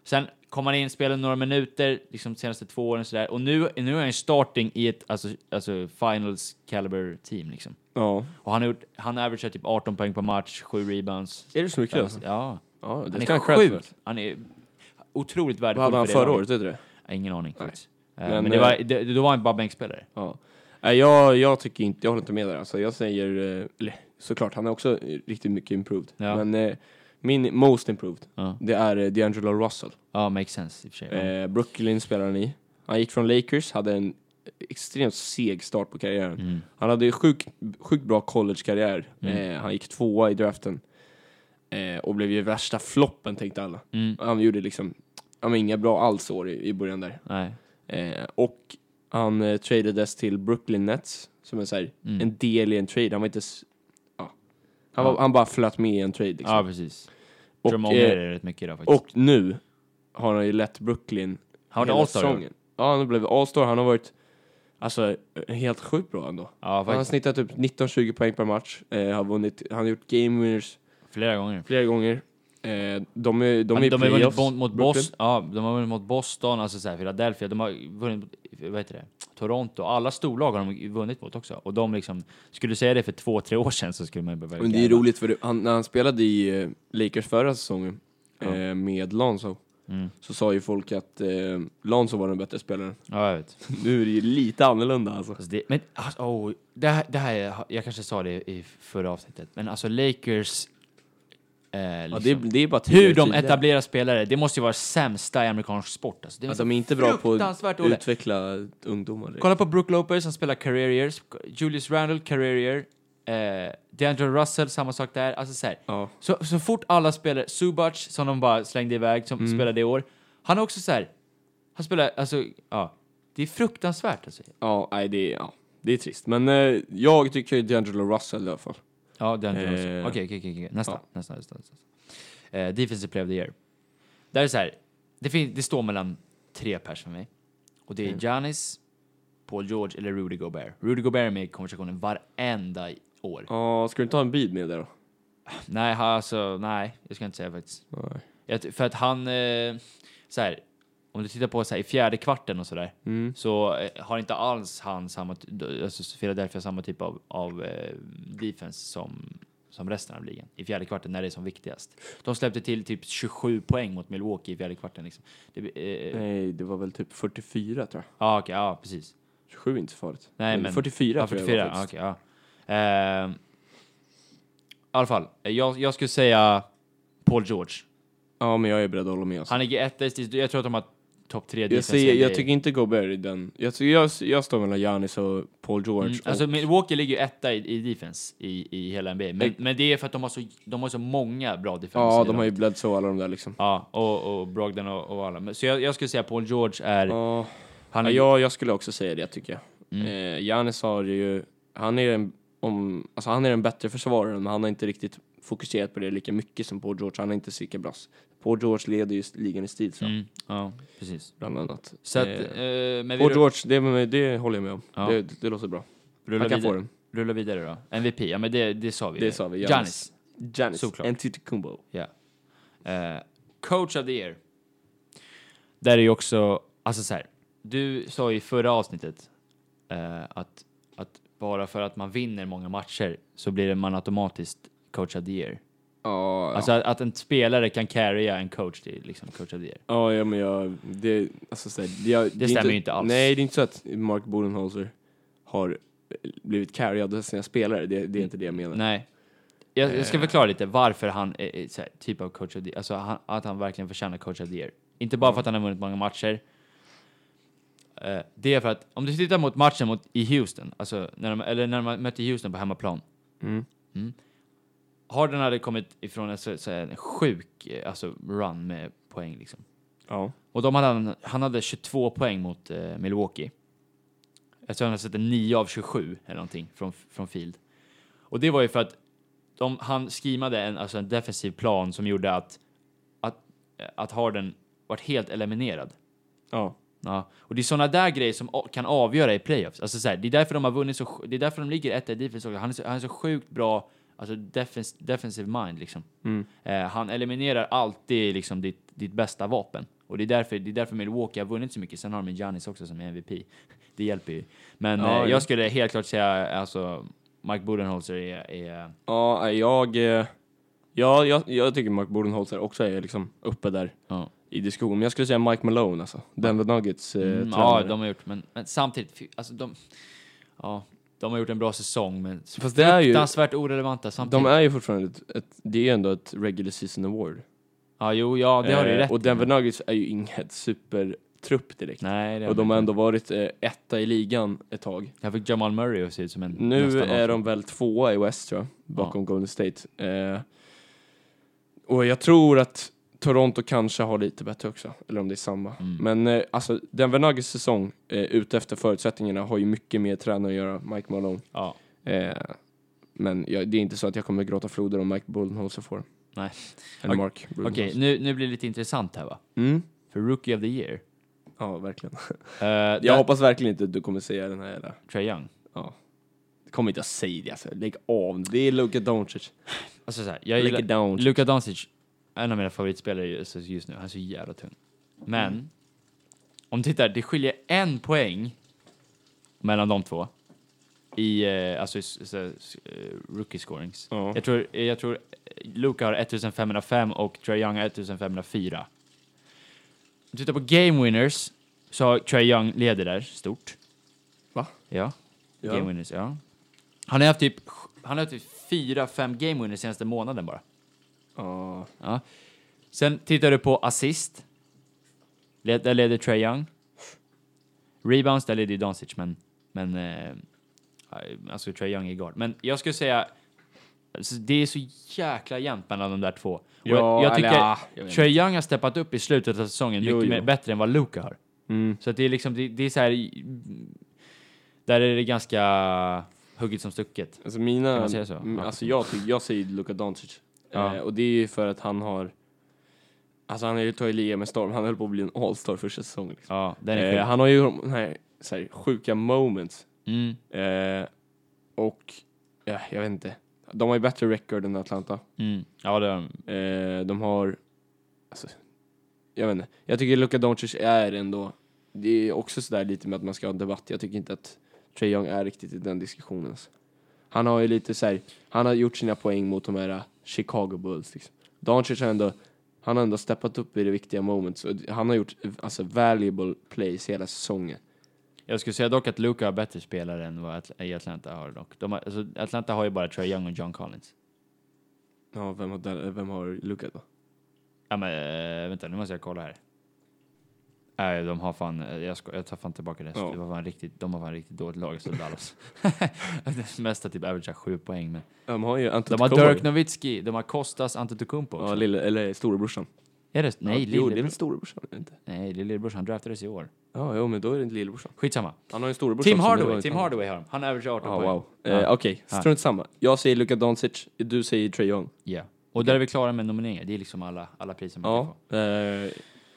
[SPEAKER 1] Sen kom han in, spelade några minuter, liksom de senaste två åren sådär. Och nu, nu är han starting i ett alltså, alltså finals caliber team liksom.
[SPEAKER 3] Ja.
[SPEAKER 1] Och han har gjort, han averagerar typ 18 poäng per match, 7 rebounds.
[SPEAKER 3] Är det så mycket? Alltså?
[SPEAKER 1] Ja,
[SPEAKER 3] Ja, det
[SPEAKER 1] han
[SPEAKER 3] ska
[SPEAKER 1] är
[SPEAKER 3] han cred för.
[SPEAKER 1] sjuk. Han är otroligt
[SPEAKER 3] Vad
[SPEAKER 1] värdefull
[SPEAKER 3] hade han
[SPEAKER 1] för det
[SPEAKER 3] förra
[SPEAKER 1] laget.
[SPEAKER 3] året? Vet du det?
[SPEAKER 1] Jag har Ingen aning faktiskt. Eh,
[SPEAKER 3] Men,
[SPEAKER 1] men det
[SPEAKER 3] eh,
[SPEAKER 1] var, det, då var han bara bänkspelare.
[SPEAKER 3] Ja. Nej, jag, jag tycker inte, jag håller inte med där. Alltså, jag säger, eh, eller såklart, han är också eh, riktigt mycket improved.
[SPEAKER 1] Ja.
[SPEAKER 3] Men eh, min most improved,
[SPEAKER 1] Ja.
[SPEAKER 3] det är eh, D'Angelo Russell.
[SPEAKER 1] Ja, makes sense i och för sig. Ja.
[SPEAKER 3] Eh, Brooklyn spelar han i. Han gick från Lakers, hade en extremt seg start på karriären.
[SPEAKER 1] Mm.
[SPEAKER 3] Han hade ju sjukt sjukt bra collegekarriär.
[SPEAKER 1] Mm.
[SPEAKER 3] Eh, han gick tvåa i draften. Eh, och blev ju värsta floppen tänkte alla.
[SPEAKER 1] Mm.
[SPEAKER 3] Han gjorde liksom, ja men inga bra alls år i, i början där.
[SPEAKER 1] Nej.
[SPEAKER 3] Eh, och han eh, tradades till Brooklyn Nets som är så här,
[SPEAKER 1] Mm.
[SPEAKER 3] en del i en trade. Han var inte... s- Ja. Han, var, han bara flöt med i en trade. Liksom.
[SPEAKER 1] Ja, precis. Och,
[SPEAKER 3] och,
[SPEAKER 1] Drummond
[SPEAKER 3] eh,
[SPEAKER 1] är det rätt mycket idag faktiskt.
[SPEAKER 3] och nu har han ju lett Brooklin
[SPEAKER 1] han var
[SPEAKER 3] hela
[SPEAKER 1] All-Star. ja.
[SPEAKER 3] säsongen. Ja, han blev All-Star. Han har varit alltså, helt sjukt bra ändå.
[SPEAKER 1] Ja,
[SPEAKER 3] han har
[SPEAKER 1] faktiskt.
[SPEAKER 3] snittat typ 19-20 poäng per match. Eh, har vunnit, han har gjort game winners
[SPEAKER 1] Flera gånger.
[SPEAKER 3] flera gånger. Eh, de är, de är i
[SPEAKER 1] de har vunnit
[SPEAKER 3] playoffs,
[SPEAKER 1] bon- mot
[SPEAKER 3] Brooklyn.
[SPEAKER 1] Boston, ja, de har vunnit mot Boston, alltså så här, Philadelphia, de har vunnit mot, vad heter det, Toronto. Alla storlag har de vunnit mot också. Och de liksom, skulle du säga det för två, tre år sedan så skulle man ju behöva...
[SPEAKER 3] Men det är roligt för det- han, när han spelade i eh, Lakers förra säsongen
[SPEAKER 1] Ja.
[SPEAKER 3] eh, med Lonzo
[SPEAKER 1] Mm.
[SPEAKER 3] så sa ju folk att eh, Lonzo var den bättre spelaren.
[SPEAKER 1] Ja, jag vet.
[SPEAKER 3] nu är det ju lite annorlunda alltså.
[SPEAKER 1] Alltså det, men alltså, oh, det, här, det här, är- jag kanske sa det i förra avsnittet, men alltså Lakers... Eh,
[SPEAKER 3] Ja,
[SPEAKER 1] liksom,
[SPEAKER 3] det, är- det är bara
[SPEAKER 1] hur de
[SPEAKER 3] tydliga.
[SPEAKER 1] etablerar spelare, det måste ju vara sämsta i amerikansk sport. Alltså, det är
[SPEAKER 3] Att de är inte bra på
[SPEAKER 1] Fruktansvärt
[SPEAKER 3] att
[SPEAKER 1] dåliga.
[SPEAKER 3] utveckla ungdomar. direkt.
[SPEAKER 1] Kolla på Brook Lopez, han spelar career years. Julius Randle, career year. Eh, DeAndre Russell, samma sak där. Alltså så, här.
[SPEAKER 3] Ja.
[SPEAKER 1] så, så fort alla spelare, Subac som de bara slängde iväg,
[SPEAKER 3] Mm.
[SPEAKER 1] som spelade i år. Han är också så här. han spelar, alltså, ja. Det är fruktansvärt alltså.
[SPEAKER 3] Ja, nej, det, är- ja, det är trist. Men eh, jag tycker ju D'Angelo Russell i alla fall.
[SPEAKER 1] Ja, DeAndre
[SPEAKER 3] Eh.
[SPEAKER 1] Russell. Okej, okej, okej, okej. Nästa,
[SPEAKER 3] Ja.
[SPEAKER 1] nästa, nästa. nästa. Eh, defensive player of the year. Där är det så här, det, fin- det står mellan tre pers för mig. Och det
[SPEAKER 3] Mm.
[SPEAKER 1] är Giannis, Paul George eller Rudy Gobert. Rudy Gobert är med i konversationen varenda år.
[SPEAKER 3] Ja, ska du inte ha en bid med det då?
[SPEAKER 1] Nej, ha- alltså nej, jag ska inte säga faktiskt.
[SPEAKER 3] Nej.
[SPEAKER 1] Jag, ty- för att han, eh, så här, om du tittar på så här, i fjärde kvarten och sådär,
[SPEAKER 3] Mm.
[SPEAKER 1] så eh, har inte alls han samma, ty- d- alltså Philadelphia samma typ av, av eh, defense som, som resten av ligan i fjärde kvarten när det är som viktigast. De släppte till typ 27 poäng mot Milwaukee i fjärde kvarten liksom. Det, blir, eh,
[SPEAKER 3] Nej, det var väl typ 44 tror jag.
[SPEAKER 1] ja, okej, ja, precis.
[SPEAKER 3] 27 är inte så farligt.
[SPEAKER 1] Nej, men,
[SPEAKER 3] 44
[SPEAKER 1] ja,
[SPEAKER 3] tror
[SPEAKER 1] 44,
[SPEAKER 3] jag det var
[SPEAKER 1] ja,
[SPEAKER 3] faktiskt.
[SPEAKER 1] okej, ja. Ehm, I alla fall, eh, jag, jag skulle säga Paul George.
[SPEAKER 3] Ja, men jag är beredd att hålla med. Alltså.
[SPEAKER 1] Han ligger etta i stil- Jag tror att de har topp tre
[SPEAKER 3] Jag,
[SPEAKER 1] defensiva
[SPEAKER 3] säger, jag
[SPEAKER 1] grejer.
[SPEAKER 3] tycker inte Gobert i den. Jag, tycker- jag, jag står mellan Giannis och Paul George.
[SPEAKER 1] Mm,
[SPEAKER 3] och,
[SPEAKER 1] alltså Milwaukee ligger ju etta i, i defense i, i hela NBA. Men,
[SPEAKER 3] Nej.
[SPEAKER 1] men det är för att de har så, de har så många bra defensiva.
[SPEAKER 3] ja, de har ju Bledsoe alla de där liksom.
[SPEAKER 1] Ja, och, och Brogdon och, och alla. Men- Så jag, jag skulle säga Paul George är...
[SPEAKER 3] Ja,
[SPEAKER 1] Han
[SPEAKER 3] ja,
[SPEAKER 1] är
[SPEAKER 3] jag, jag skulle också säga det tycker jag.
[SPEAKER 1] Mm.
[SPEAKER 3] Eh, Giannis har ju, han är en, om, alltså han är en bättre försvarare men han har inte riktigt fokuserat på det lika mycket som Paul George. Han är inte lika brass. Paul George leder ju ligan i stil så,
[SPEAKER 1] mm, ja, precis.
[SPEAKER 3] bland annat.
[SPEAKER 1] Så att,
[SPEAKER 3] Eh,
[SPEAKER 1] eh, men vi
[SPEAKER 3] Paul
[SPEAKER 1] ru-
[SPEAKER 3] George, det, det håller jag med om.
[SPEAKER 1] Ja.
[SPEAKER 3] Det, det låter bra.
[SPEAKER 1] rullar,
[SPEAKER 3] Han kan få
[SPEAKER 1] vidare,
[SPEAKER 3] den.
[SPEAKER 1] rullar vidare då. MVP, ja men det, det sa vi.
[SPEAKER 3] Det sa vi, Giannis.
[SPEAKER 1] Giannis.
[SPEAKER 3] Giannis,
[SPEAKER 1] Såklart.
[SPEAKER 3] Antetokounmpo.
[SPEAKER 1] Ja. Eh, coach of the year. Där är ju också, alltså så här, du sa ju i förra avsnittet eh, att, att bara för att man vinner många matcher så blir man automatiskt coach of the year.
[SPEAKER 3] Ja, ja.
[SPEAKER 1] Alltså att, att en spelare kan carrya en coach till liksom coach of the year.
[SPEAKER 3] Ja, ja men jag, det, alltså, så här, jag, det, är
[SPEAKER 1] stämmer ju inte alls.
[SPEAKER 3] Nej, det är inte så att Mark Bodenholzer har eh, blivit carryad av sina spelare, det, det är inte det jag menar.
[SPEAKER 1] Nej. Jag, jag ska förklara lite varför han är, är så här, typ av coach of the year. Alltså han, att han verkligen förtjänar coach of the year. Inte bara för att han har vunnit många matcher. Eh, det är för att om du tittar mot matchen mot, i Houston, alltså när de, eller när de mötte Houston på hemmaplan.
[SPEAKER 3] Mm.
[SPEAKER 1] Mm. Harden hade kommit ifrån en, så, så här, en sjuk eh, alltså, run med poäng liksom.
[SPEAKER 3] Ja.
[SPEAKER 1] Och de hade, han hade 22 poäng mot eh, Milwaukee. Jag tror han hade sett en 9 av 27 eller någonting från, från Field. Och det var ju för att de, han skimade en, alltså en defensiv plan som gjorde att, att, att Harden vart helt eliminerad.
[SPEAKER 3] Ja.
[SPEAKER 1] Ja. Och det är sådana där grejer som a- kan avgöra i playoffs. Alltså så här, det är därför de har vunnit så, sj- det är därför de ligger etta i defense också. Han är så, han är så sjukt bra, alltså defens, defensive mind liksom. Eh, han eliminerar alltid liksom ditt, ditt bästa vapen. Och det är, därför, det är därför Milwaukee har vunnit så mycket. Sen har de Giannis också som är MVP. Det hjälper ju. Men
[SPEAKER 3] Ja,
[SPEAKER 1] eh,
[SPEAKER 3] ja.
[SPEAKER 1] jag skulle helt klart säga, alltså, Mike Budenholzer är, är eh,
[SPEAKER 3] Ja, nej, jag, eh, ja, jag, jag tycker Mark Bodenholzer också är liksom uppe där
[SPEAKER 1] ja.
[SPEAKER 3] i diskussion. Men jag skulle säga Mike Malone alltså. Denver Nuggets eh,
[SPEAKER 1] Mm, ja,
[SPEAKER 3] tränare.
[SPEAKER 1] de har gjort, men, men samtidigt, fy- alltså de, ja, de har gjort en bra säsong, men
[SPEAKER 3] Fast det är ju-
[SPEAKER 1] fruktansvärt typ. orelevanta samtidigt.
[SPEAKER 3] de är ju fortfarande ett, ett, det är ju ändå ett regular season award.
[SPEAKER 1] Ja, jo, ja, det har du ju
[SPEAKER 3] Eh,
[SPEAKER 1] rätt
[SPEAKER 3] Och
[SPEAKER 1] i.
[SPEAKER 3] Denver Nuggets är ju inget supertrupp direkt.
[SPEAKER 1] Nej, det har
[SPEAKER 3] och
[SPEAKER 1] du
[SPEAKER 3] de har
[SPEAKER 1] inte.
[SPEAKER 3] ändå varit eh, etta i ligan ett tag.
[SPEAKER 1] Jag fick Jamal Murray att se ut som en...
[SPEAKER 3] Nu
[SPEAKER 1] nästan
[SPEAKER 3] är de väl tvåa i West tror jag, bakom Golden State. Eh, och jag tror att Toronto kanske har lite bättre också, eller om det är samma.
[SPEAKER 1] Mm.
[SPEAKER 3] Men eh, alltså, Denver Nuggets säsong, eh, ute efter förutsättningarna, har ju mycket mer tränare att göra, Mike Malone.
[SPEAKER 1] Ja,
[SPEAKER 3] Eh, men jag, det är inte så att jag kommer gråta floder om Mike Budenholzer får.
[SPEAKER 1] Nej.
[SPEAKER 3] Eller
[SPEAKER 1] Ok-
[SPEAKER 3] Mark
[SPEAKER 1] okej,
[SPEAKER 3] Budenholzer.
[SPEAKER 1] nu, nu blir det lite intressant här va?
[SPEAKER 3] Mm?
[SPEAKER 1] För Rookie of the Year. Uh,
[SPEAKER 3] Ja, verkligen.
[SPEAKER 1] jag
[SPEAKER 3] Jag hoppas verkligen inte att du kommer säga den här jävla...
[SPEAKER 1] Trae Young.
[SPEAKER 3] Kommer inte att säga det alltså, lägg av. Det är Luka Doncic.
[SPEAKER 1] Alltså såhär, jag
[SPEAKER 3] Luka
[SPEAKER 1] gillar...
[SPEAKER 3] Doncic.
[SPEAKER 1] Luka Doncic, en av mina favoritspelare just, just nu. Han är så jävla tung. Men,
[SPEAKER 3] Mm.
[SPEAKER 1] om du tittar, det skiljer en poäng mellan de två. I, eh, alltså, i s- s- s- eh, rookie scorings.
[SPEAKER 3] Ja.
[SPEAKER 1] Jag tror, eh, jag tror eh, Luka har 1505 och Trae Young har 1504. Om du tittar på game winners så har Trae Young leder där, stort.
[SPEAKER 3] Va?
[SPEAKER 1] Ja.
[SPEAKER 3] Ja.
[SPEAKER 1] Game winners, ja. Han har haft typ, han har haft typ fyra, fem game winners senaste månaden bara.
[SPEAKER 3] Ja.
[SPEAKER 1] Ja. Sen tittar du på assist. Le- Där leder Trae Young. Rebounds, där leder ju Doncic, men... men eh, alltså Trae Young är guard. Men jag skulle säga... alltså, Det är så jäkla jämnt mellan de där två. Och jag, jag tycker
[SPEAKER 3] eller, jag vet
[SPEAKER 1] Trae Young har steppat upp i slutet av säsongen
[SPEAKER 3] Jo,
[SPEAKER 1] mycket
[SPEAKER 3] jo.
[SPEAKER 1] Mer, bättre än vad Luka har.
[SPEAKER 3] Mm.
[SPEAKER 1] Så att det är liksom, det, det är så här... mm, Där är det ganska hugget som stucket.
[SPEAKER 3] Alltså mina,
[SPEAKER 1] Kan man säga så?
[SPEAKER 3] Mm,
[SPEAKER 1] Ja.
[SPEAKER 3] Alltså jag, tycker, jag säger Luka Doncic.
[SPEAKER 1] Ja.
[SPEAKER 3] Eh, och det är ju för att han har, alltså han har ju tagit ligan med storm, han höll på att bli en all-star första säsongen. Liksom.
[SPEAKER 1] Ja, den är
[SPEAKER 3] Eh,
[SPEAKER 1] sjuk.
[SPEAKER 3] han har ju de här, så här sjuka moments.
[SPEAKER 1] Mm.
[SPEAKER 3] Eh, och, ja, jag vet inte. De har ju bättre record än Atlanta.
[SPEAKER 1] Mm. Ja, det är
[SPEAKER 3] Eh, de har, alltså, jag vet inte. Jag tycker Luka Doncic är ändå, det är också sådär lite med att man ska ha en debatt. Jag tycker inte att Trae Young är riktigt i den diskussionen. Alltså. Han har ju lite såhär, han har gjort sina poäng mot de här eh, Chicago Bulls liksom. Doncic har ändå, han har ändå steppat upp i det viktiga moments. Och han har gjort eh, alltså valuable plays hela säsongen.
[SPEAKER 1] Jag skulle säga dock att Luka har bättre spelare än vad Atl- i Atlanta har dock. De har, alltså, Atlanta har ju bara Trae Young och John Collins.
[SPEAKER 3] Ja, vem har, den- vem har Luka då?
[SPEAKER 1] Ja men eh, vänta, nu måste jag kolla här. Nej, de har fan, eh, jag, sko- jag tar fan tillbaka det.
[SPEAKER 3] Ja.
[SPEAKER 1] det var fan riktigt, de har fan riktigt dåligt lag, så Dallas. Det Mesta typ averagear sju poäng, men.
[SPEAKER 3] De har ju
[SPEAKER 1] De har
[SPEAKER 3] Antetokounmpo.
[SPEAKER 1] Dirk Nowitzki, de har Kostas Antetokounmpo
[SPEAKER 3] Ja,
[SPEAKER 1] också.
[SPEAKER 3] lille, eller storebrorsan.
[SPEAKER 1] är det, nej,
[SPEAKER 3] ja, jo, det är väl
[SPEAKER 1] lillebror,
[SPEAKER 3] storebrorsan? är det Inte.
[SPEAKER 1] nej, det är lillebrors, han draftades i år.
[SPEAKER 3] Ja, jo, men då är det inte lillebrorsan.
[SPEAKER 1] Skitsamma.
[SPEAKER 3] Han har ju en storebror
[SPEAKER 1] Tim
[SPEAKER 3] som- som
[SPEAKER 1] Hardaway,
[SPEAKER 3] var-
[SPEAKER 1] Tim Hardaway har de. Han averagear 18
[SPEAKER 3] Ja,
[SPEAKER 1] poäng.
[SPEAKER 3] wow. Eh, Okej,
[SPEAKER 1] Ja.
[SPEAKER 3] strunt samma. Jag säger Luka Doncic, du säger Trae Young.
[SPEAKER 1] Ja. Och där är vi klara med nomineringar, det är liksom alla, alla priser man kan
[SPEAKER 3] Ja,
[SPEAKER 1] få.
[SPEAKER 3] eh,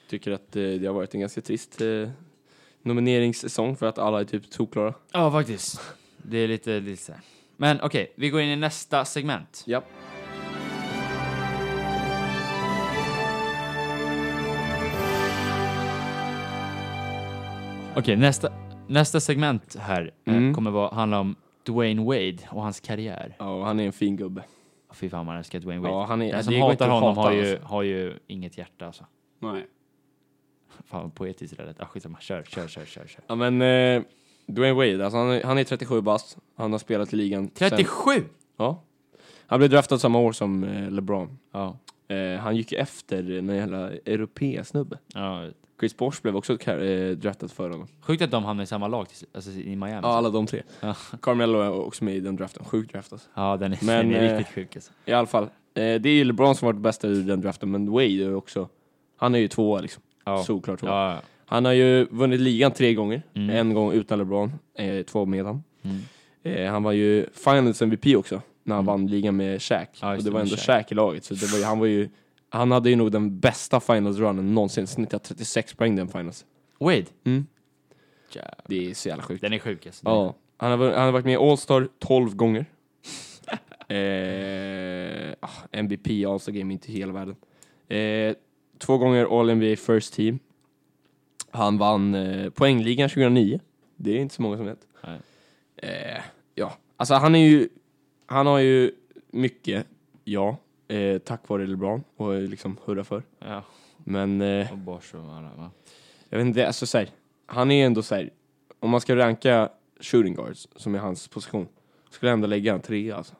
[SPEAKER 3] tycker att eh, det har varit en ganska trist eh, nomineringssäsong för att alla är typ tokklara.
[SPEAKER 1] Ja, faktiskt. Det är lite, lite så här. Men okej, vi går in i nästa segment.
[SPEAKER 3] Ja.
[SPEAKER 1] Okej, nästa, nästa segment här eh,
[SPEAKER 3] Mm.
[SPEAKER 1] kommer vara, handla om Dwayne Wade och hans karriär.
[SPEAKER 3] Ja, och han är en fin gubbe.
[SPEAKER 1] Oh, fy fan, man älskar Dwayne Wade.
[SPEAKER 3] Ja, han är, alltså,
[SPEAKER 1] Den som
[SPEAKER 3] det går inte
[SPEAKER 1] hatar
[SPEAKER 3] att
[SPEAKER 1] honom
[SPEAKER 3] hata
[SPEAKER 1] har, ju,
[SPEAKER 3] alltså.
[SPEAKER 1] har ju inget hjärta alltså.
[SPEAKER 3] Nej.
[SPEAKER 1] Fan vad poetiskt det lät. Ah, skitsamma, kör, kör, kör, kör. kör.
[SPEAKER 3] Ja, men eh, Dwayne Wade, alltså han, är- han är 37 bast. Han har spelat i ligan. sen-
[SPEAKER 1] 37!
[SPEAKER 3] Ja. Han blev draftad samma år som eh, LeBron.
[SPEAKER 1] Ja.
[SPEAKER 3] Eh, han gick ju efter någon jävla europésnubbe.
[SPEAKER 1] ja.
[SPEAKER 3] Chris Bosh blev också kar- eh, draftad för honom.
[SPEAKER 1] Sjukt att de hamnar i samma lag, till- alltså i Miami.
[SPEAKER 3] Ja, alla de tre.
[SPEAKER 1] Ja.
[SPEAKER 3] Carmelo är också med i den draften. Sjuk draft alltså.
[SPEAKER 1] Ja, den är,
[SPEAKER 3] Men,
[SPEAKER 1] den är
[SPEAKER 3] eh,
[SPEAKER 1] riktigt sjuk alltså.
[SPEAKER 3] I alla fall. Eh, det är ju LeBron som varit bästa ur den draften, men Wade är ju också... Han är ju tvåa liksom.
[SPEAKER 1] Ja.
[SPEAKER 3] Solklart tvåa.
[SPEAKER 1] Ja, ja.
[SPEAKER 3] Han har ju vunnit ligan tre gånger.
[SPEAKER 1] Mm.
[SPEAKER 3] En gång utan LeBron, eh, två med han.
[SPEAKER 1] Mm.
[SPEAKER 3] Eh, han var ju Finals MVP också, när han vann ligan med Shaq.
[SPEAKER 1] Ja, just
[SPEAKER 3] och
[SPEAKER 1] det,
[SPEAKER 3] Mm. det var
[SPEAKER 1] med
[SPEAKER 3] ändå
[SPEAKER 1] Shaq.
[SPEAKER 3] Shaq. i laget, så det var ju, han var ju... Han hade ju nog den bästa finals-runnen någonsin, snittade 36 poäng den finals.
[SPEAKER 1] Wade.
[SPEAKER 3] Mm.
[SPEAKER 1] Ja,
[SPEAKER 3] Det är så jävla sjukt.
[SPEAKER 1] Den är sjuk alltså.
[SPEAKER 3] Ja, han har, varit- han har varit med i All-Star 12 gånger. eh, ah, MVP, All-Star Game, inte hela världen. Eh, två gånger All-NBA First Team. Han vann eh, poängligan 2009. Det är inte så många som vet.
[SPEAKER 1] Nej.
[SPEAKER 3] Eh, ja, alltså han är ju, han har ju mycket, ja, eh, tack vare LeBron och eh, liksom hurra för.
[SPEAKER 1] Ja.
[SPEAKER 3] Men eh,
[SPEAKER 1] Och Bosch och alla, va?
[SPEAKER 3] jag vet inte, alltså såhär, han är ändå såhär, om man ska ranka shooting guards, som är hans position, skulle jag ändå lägga en trea alltså.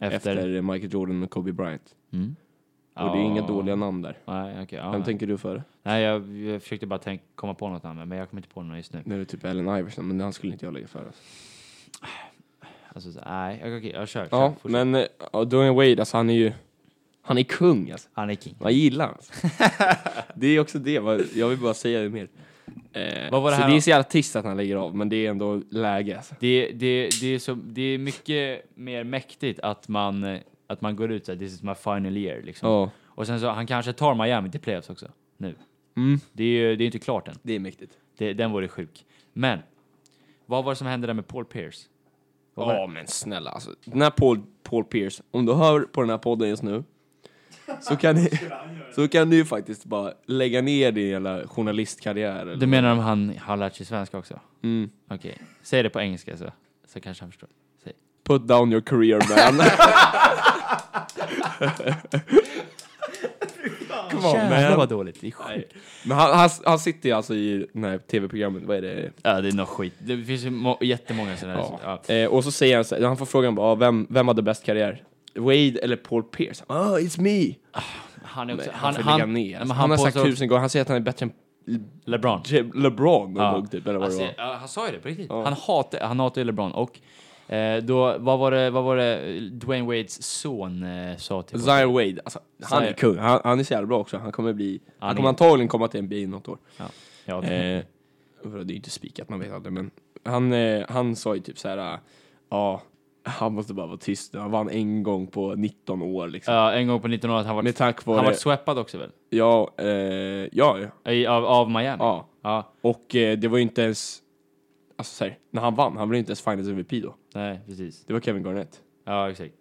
[SPEAKER 1] Efter?
[SPEAKER 3] Efter, Michael Jordan och Kobe Bryant.
[SPEAKER 1] Mm.
[SPEAKER 3] Och det är inga
[SPEAKER 1] Ja.
[SPEAKER 3] dåliga namn där.
[SPEAKER 1] Nej, okej. ja,
[SPEAKER 3] Vem
[SPEAKER 1] nej.
[SPEAKER 3] tänker du före?
[SPEAKER 1] Nej, jag, jag försökte bara tänk, komma på något namn, men jag kommer inte på något just nu.
[SPEAKER 3] Det är typ Allen Iverson, men han skulle inte jag lägga före. Alltså.
[SPEAKER 1] Alltså, så, nej, okej, okej, jag kör. kör
[SPEAKER 3] Ja,
[SPEAKER 1] fortsätt.
[SPEAKER 3] men eh, ja, Dwayne Wade, alltså han är ju, han är kung alltså.
[SPEAKER 1] Han är king.
[SPEAKER 3] Man gillar honom, alltså. Det är också det, vad- jag vill bara säga det mer. Eh,
[SPEAKER 1] Vad var det
[SPEAKER 3] så
[SPEAKER 1] här
[SPEAKER 3] det är
[SPEAKER 1] då?
[SPEAKER 3] så jävla trist att han lägger av, men det är ändå läge alltså.
[SPEAKER 1] Det, det, det, är så, det är mycket mer mäktigt att man, eh, att man går ut såhär, this is my final year liksom.
[SPEAKER 3] Ja,
[SPEAKER 1] Och sen så, han kanske tar Miami till playoffs också, nu.
[SPEAKER 3] Mm.
[SPEAKER 1] Det är ju det är inte klart än.
[SPEAKER 3] det är mäktigt.
[SPEAKER 1] Det, den vore sjuk. Men, vad var det som hände där med Paul Pierce? Vad var
[SPEAKER 3] Ja men snälla alltså, den här Paul, Paul Pierce, om du hör på den här podden just nu så kan ni, så kan du ju faktiskt bara lägga ner din jävla journalistkarriär.
[SPEAKER 1] det?
[SPEAKER 3] Eller?
[SPEAKER 1] Du menar om han har lärt sig svenska också?
[SPEAKER 3] Mm.
[SPEAKER 1] Okej, säg det på engelska så, så kanske han förstår. Säg.
[SPEAKER 3] Put down your career man. Come on
[SPEAKER 1] Jävlar
[SPEAKER 3] man.
[SPEAKER 1] vad dåligt, det är sjukt.
[SPEAKER 3] Men han, han, han sitter ju alltså i det här tv-programmet, vad är det?
[SPEAKER 1] Ja, det är nog skit. Det finns ju må- jättemånga sådana där. Ja.
[SPEAKER 3] Eh, och så säger han så här, han får frågan bara, ah, vem, vem hade bäst karriär? Wade eller Paul Pierce? Ah, it's me!
[SPEAKER 1] Han är också... Alltså,
[SPEAKER 3] Han,
[SPEAKER 1] Han,
[SPEAKER 3] får
[SPEAKER 1] han,
[SPEAKER 3] lägga ner.
[SPEAKER 1] nej,
[SPEAKER 3] Alltså,
[SPEAKER 1] men
[SPEAKER 3] han har sagt
[SPEAKER 1] påstår-
[SPEAKER 3] tusen gånger, han säger att han är bättre än
[SPEAKER 1] LeBron.
[SPEAKER 3] Jeb- LeBron
[SPEAKER 1] Ja.
[SPEAKER 3] dog typ, eller vad
[SPEAKER 1] Alltså,
[SPEAKER 3] det var.
[SPEAKER 1] ja, han sa ju det på riktigt.
[SPEAKER 3] Ja.
[SPEAKER 1] Han hatar han hatar ju LeBron och eh, då, vad var det, vad var det Dwayne Wades son eh, sa till honom?
[SPEAKER 3] Zion Wade, alltså, han
[SPEAKER 1] Zion-
[SPEAKER 3] är kung. Han, han är så jävla bra också. Han kommer bli, han,
[SPEAKER 1] är-
[SPEAKER 3] kommer antagligen komma till NBA något år.
[SPEAKER 1] Ja,
[SPEAKER 3] Eh, det är ju inte spikat, man vet aldrig, men han, eh, han sa ju typ så här, äh, ja, han måste bara vara tyst. Han vann en gång på 19 år liksom.
[SPEAKER 1] Ja, en gång på 1900 han var
[SPEAKER 3] Med tack
[SPEAKER 1] han
[SPEAKER 3] vare,
[SPEAKER 1] var sweppad också väl?
[SPEAKER 3] ja, eh, ja, ja,
[SPEAKER 1] I, av, av Miami?
[SPEAKER 3] ja.
[SPEAKER 1] Ja,
[SPEAKER 3] Och eh, det var ju inte ens, alltså så här, när han vann, han blev inte ens Finals MVP då.
[SPEAKER 1] nej precis.
[SPEAKER 3] Det var Kevin Garnett.
[SPEAKER 1] Ja, exakt.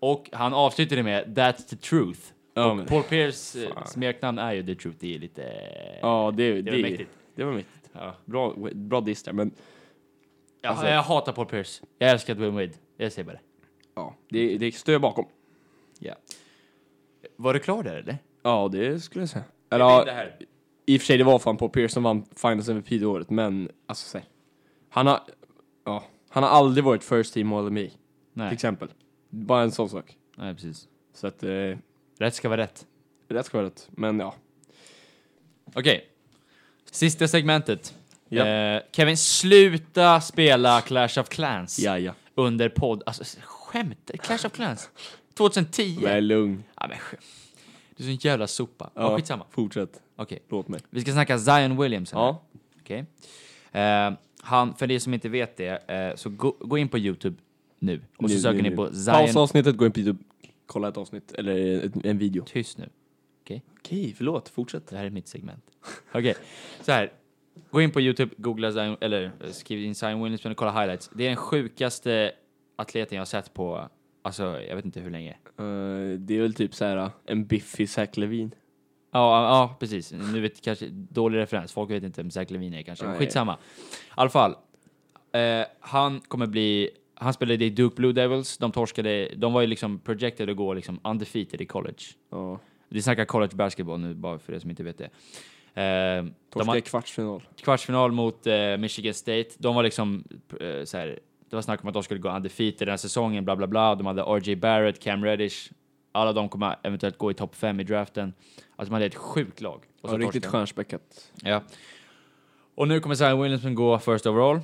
[SPEAKER 1] Och han avslutade med “That's the truth”.
[SPEAKER 3] Ja, men,
[SPEAKER 1] Paul Pierce eh,
[SPEAKER 3] Fan.
[SPEAKER 1] smeknamn är ju “The truth”, det är lite...
[SPEAKER 3] ja det, det,
[SPEAKER 1] det var mäktigt.
[SPEAKER 3] Det var mäktigt.
[SPEAKER 1] Ja.
[SPEAKER 3] Bra, bra diss där, men
[SPEAKER 1] Jag,
[SPEAKER 3] Alltså-
[SPEAKER 1] jag hatar Paul Pierce. Jag älskar Dwayne Wade. Jag säger bara det.
[SPEAKER 3] ja, det, det står jag bakom.
[SPEAKER 1] Var du klar där eller?
[SPEAKER 3] Ja, det skulle jag säga. Eller, ja,
[SPEAKER 1] här.
[SPEAKER 3] I och för sig, det var fan Paul Pierce som vann Finals MVP det året, men alltså så här, han har, ja, han har aldrig varit first team all me till
[SPEAKER 1] Nej,
[SPEAKER 3] exempel. Bara en sån sak.
[SPEAKER 1] nej precis.
[SPEAKER 3] Så att, eh,
[SPEAKER 1] Rätt ska vara rätt.
[SPEAKER 3] rätt ska vara rätt. Men ja,
[SPEAKER 1] Okej. Sista segmentet.
[SPEAKER 3] Ja.
[SPEAKER 1] Eh, Kevin, sluta spela Clash of Clans
[SPEAKER 3] ja, ja.
[SPEAKER 1] under podd... Alltså, skämt? Clash of Clans? 2010?
[SPEAKER 3] Men lugn.
[SPEAKER 1] Ja, men skämt. Du är sån jävla sopa. Ja.
[SPEAKER 3] Ja,
[SPEAKER 1] skitsamma.
[SPEAKER 3] Fortsätt.
[SPEAKER 1] Okej.
[SPEAKER 3] Låt mig.
[SPEAKER 1] Vi ska snacka Zion Williamson. här.
[SPEAKER 3] Ja.
[SPEAKER 1] Okej. Eh, han, för de som inte vet det, eh, så gå, gå in på Youtube nu och så
[SPEAKER 3] Nu,
[SPEAKER 1] söker
[SPEAKER 3] nu,
[SPEAKER 1] ni
[SPEAKER 3] nu.
[SPEAKER 1] på Zion...
[SPEAKER 3] Pausa avsnittet, gå in på Youtube, kolla ett avsnitt, eller ett, en video.
[SPEAKER 1] Tyst nu. Okej?
[SPEAKER 3] Okej, förlåt, fortsätt.
[SPEAKER 1] Det här är mitt segment. Okej, så här. Gå in på Youtube, googla Zion, eller eh, skriv in Zion Williamson och kolla highlights. Det är den sjukaste atleten jag har sett på, alltså jag vet inte hur länge.
[SPEAKER 3] Eh, det är väl typ så här eh, en biffig Zack Levin.
[SPEAKER 1] Ja, ja precis. Nu vet kanske, dålig referens, folk vet inte vem Zach Levine är kanske.
[SPEAKER 3] Nej.
[SPEAKER 1] Skitsamma. I alla fall. Eh, han kommer bli, han spelade i Duke Blue Devils, de torskade, de var ju liksom projected att gå liksom undefeated i college.
[SPEAKER 3] Ja.
[SPEAKER 1] Vi snackar college basketball nu, bara för er som inte vet det. Eh, de
[SPEAKER 3] Torska
[SPEAKER 1] har-
[SPEAKER 3] i kvartsfinal.
[SPEAKER 1] kvartsfinal mot eh, Michigan State. De var liksom eh, så här, Det var snack om att de skulle gå undefeated den här säsongen, bla bla bla. De hade RJ Barrett, Cam Reddish. Alla de kommer eventuellt gå i topp 5 i draften. Alltså man hade ett sjukt lag. Och
[SPEAKER 3] Ja, riktigt
[SPEAKER 1] torskade de.
[SPEAKER 3] stjärnspäckat.
[SPEAKER 1] Ja. Och nu kommer Zion Williamson gå first overall.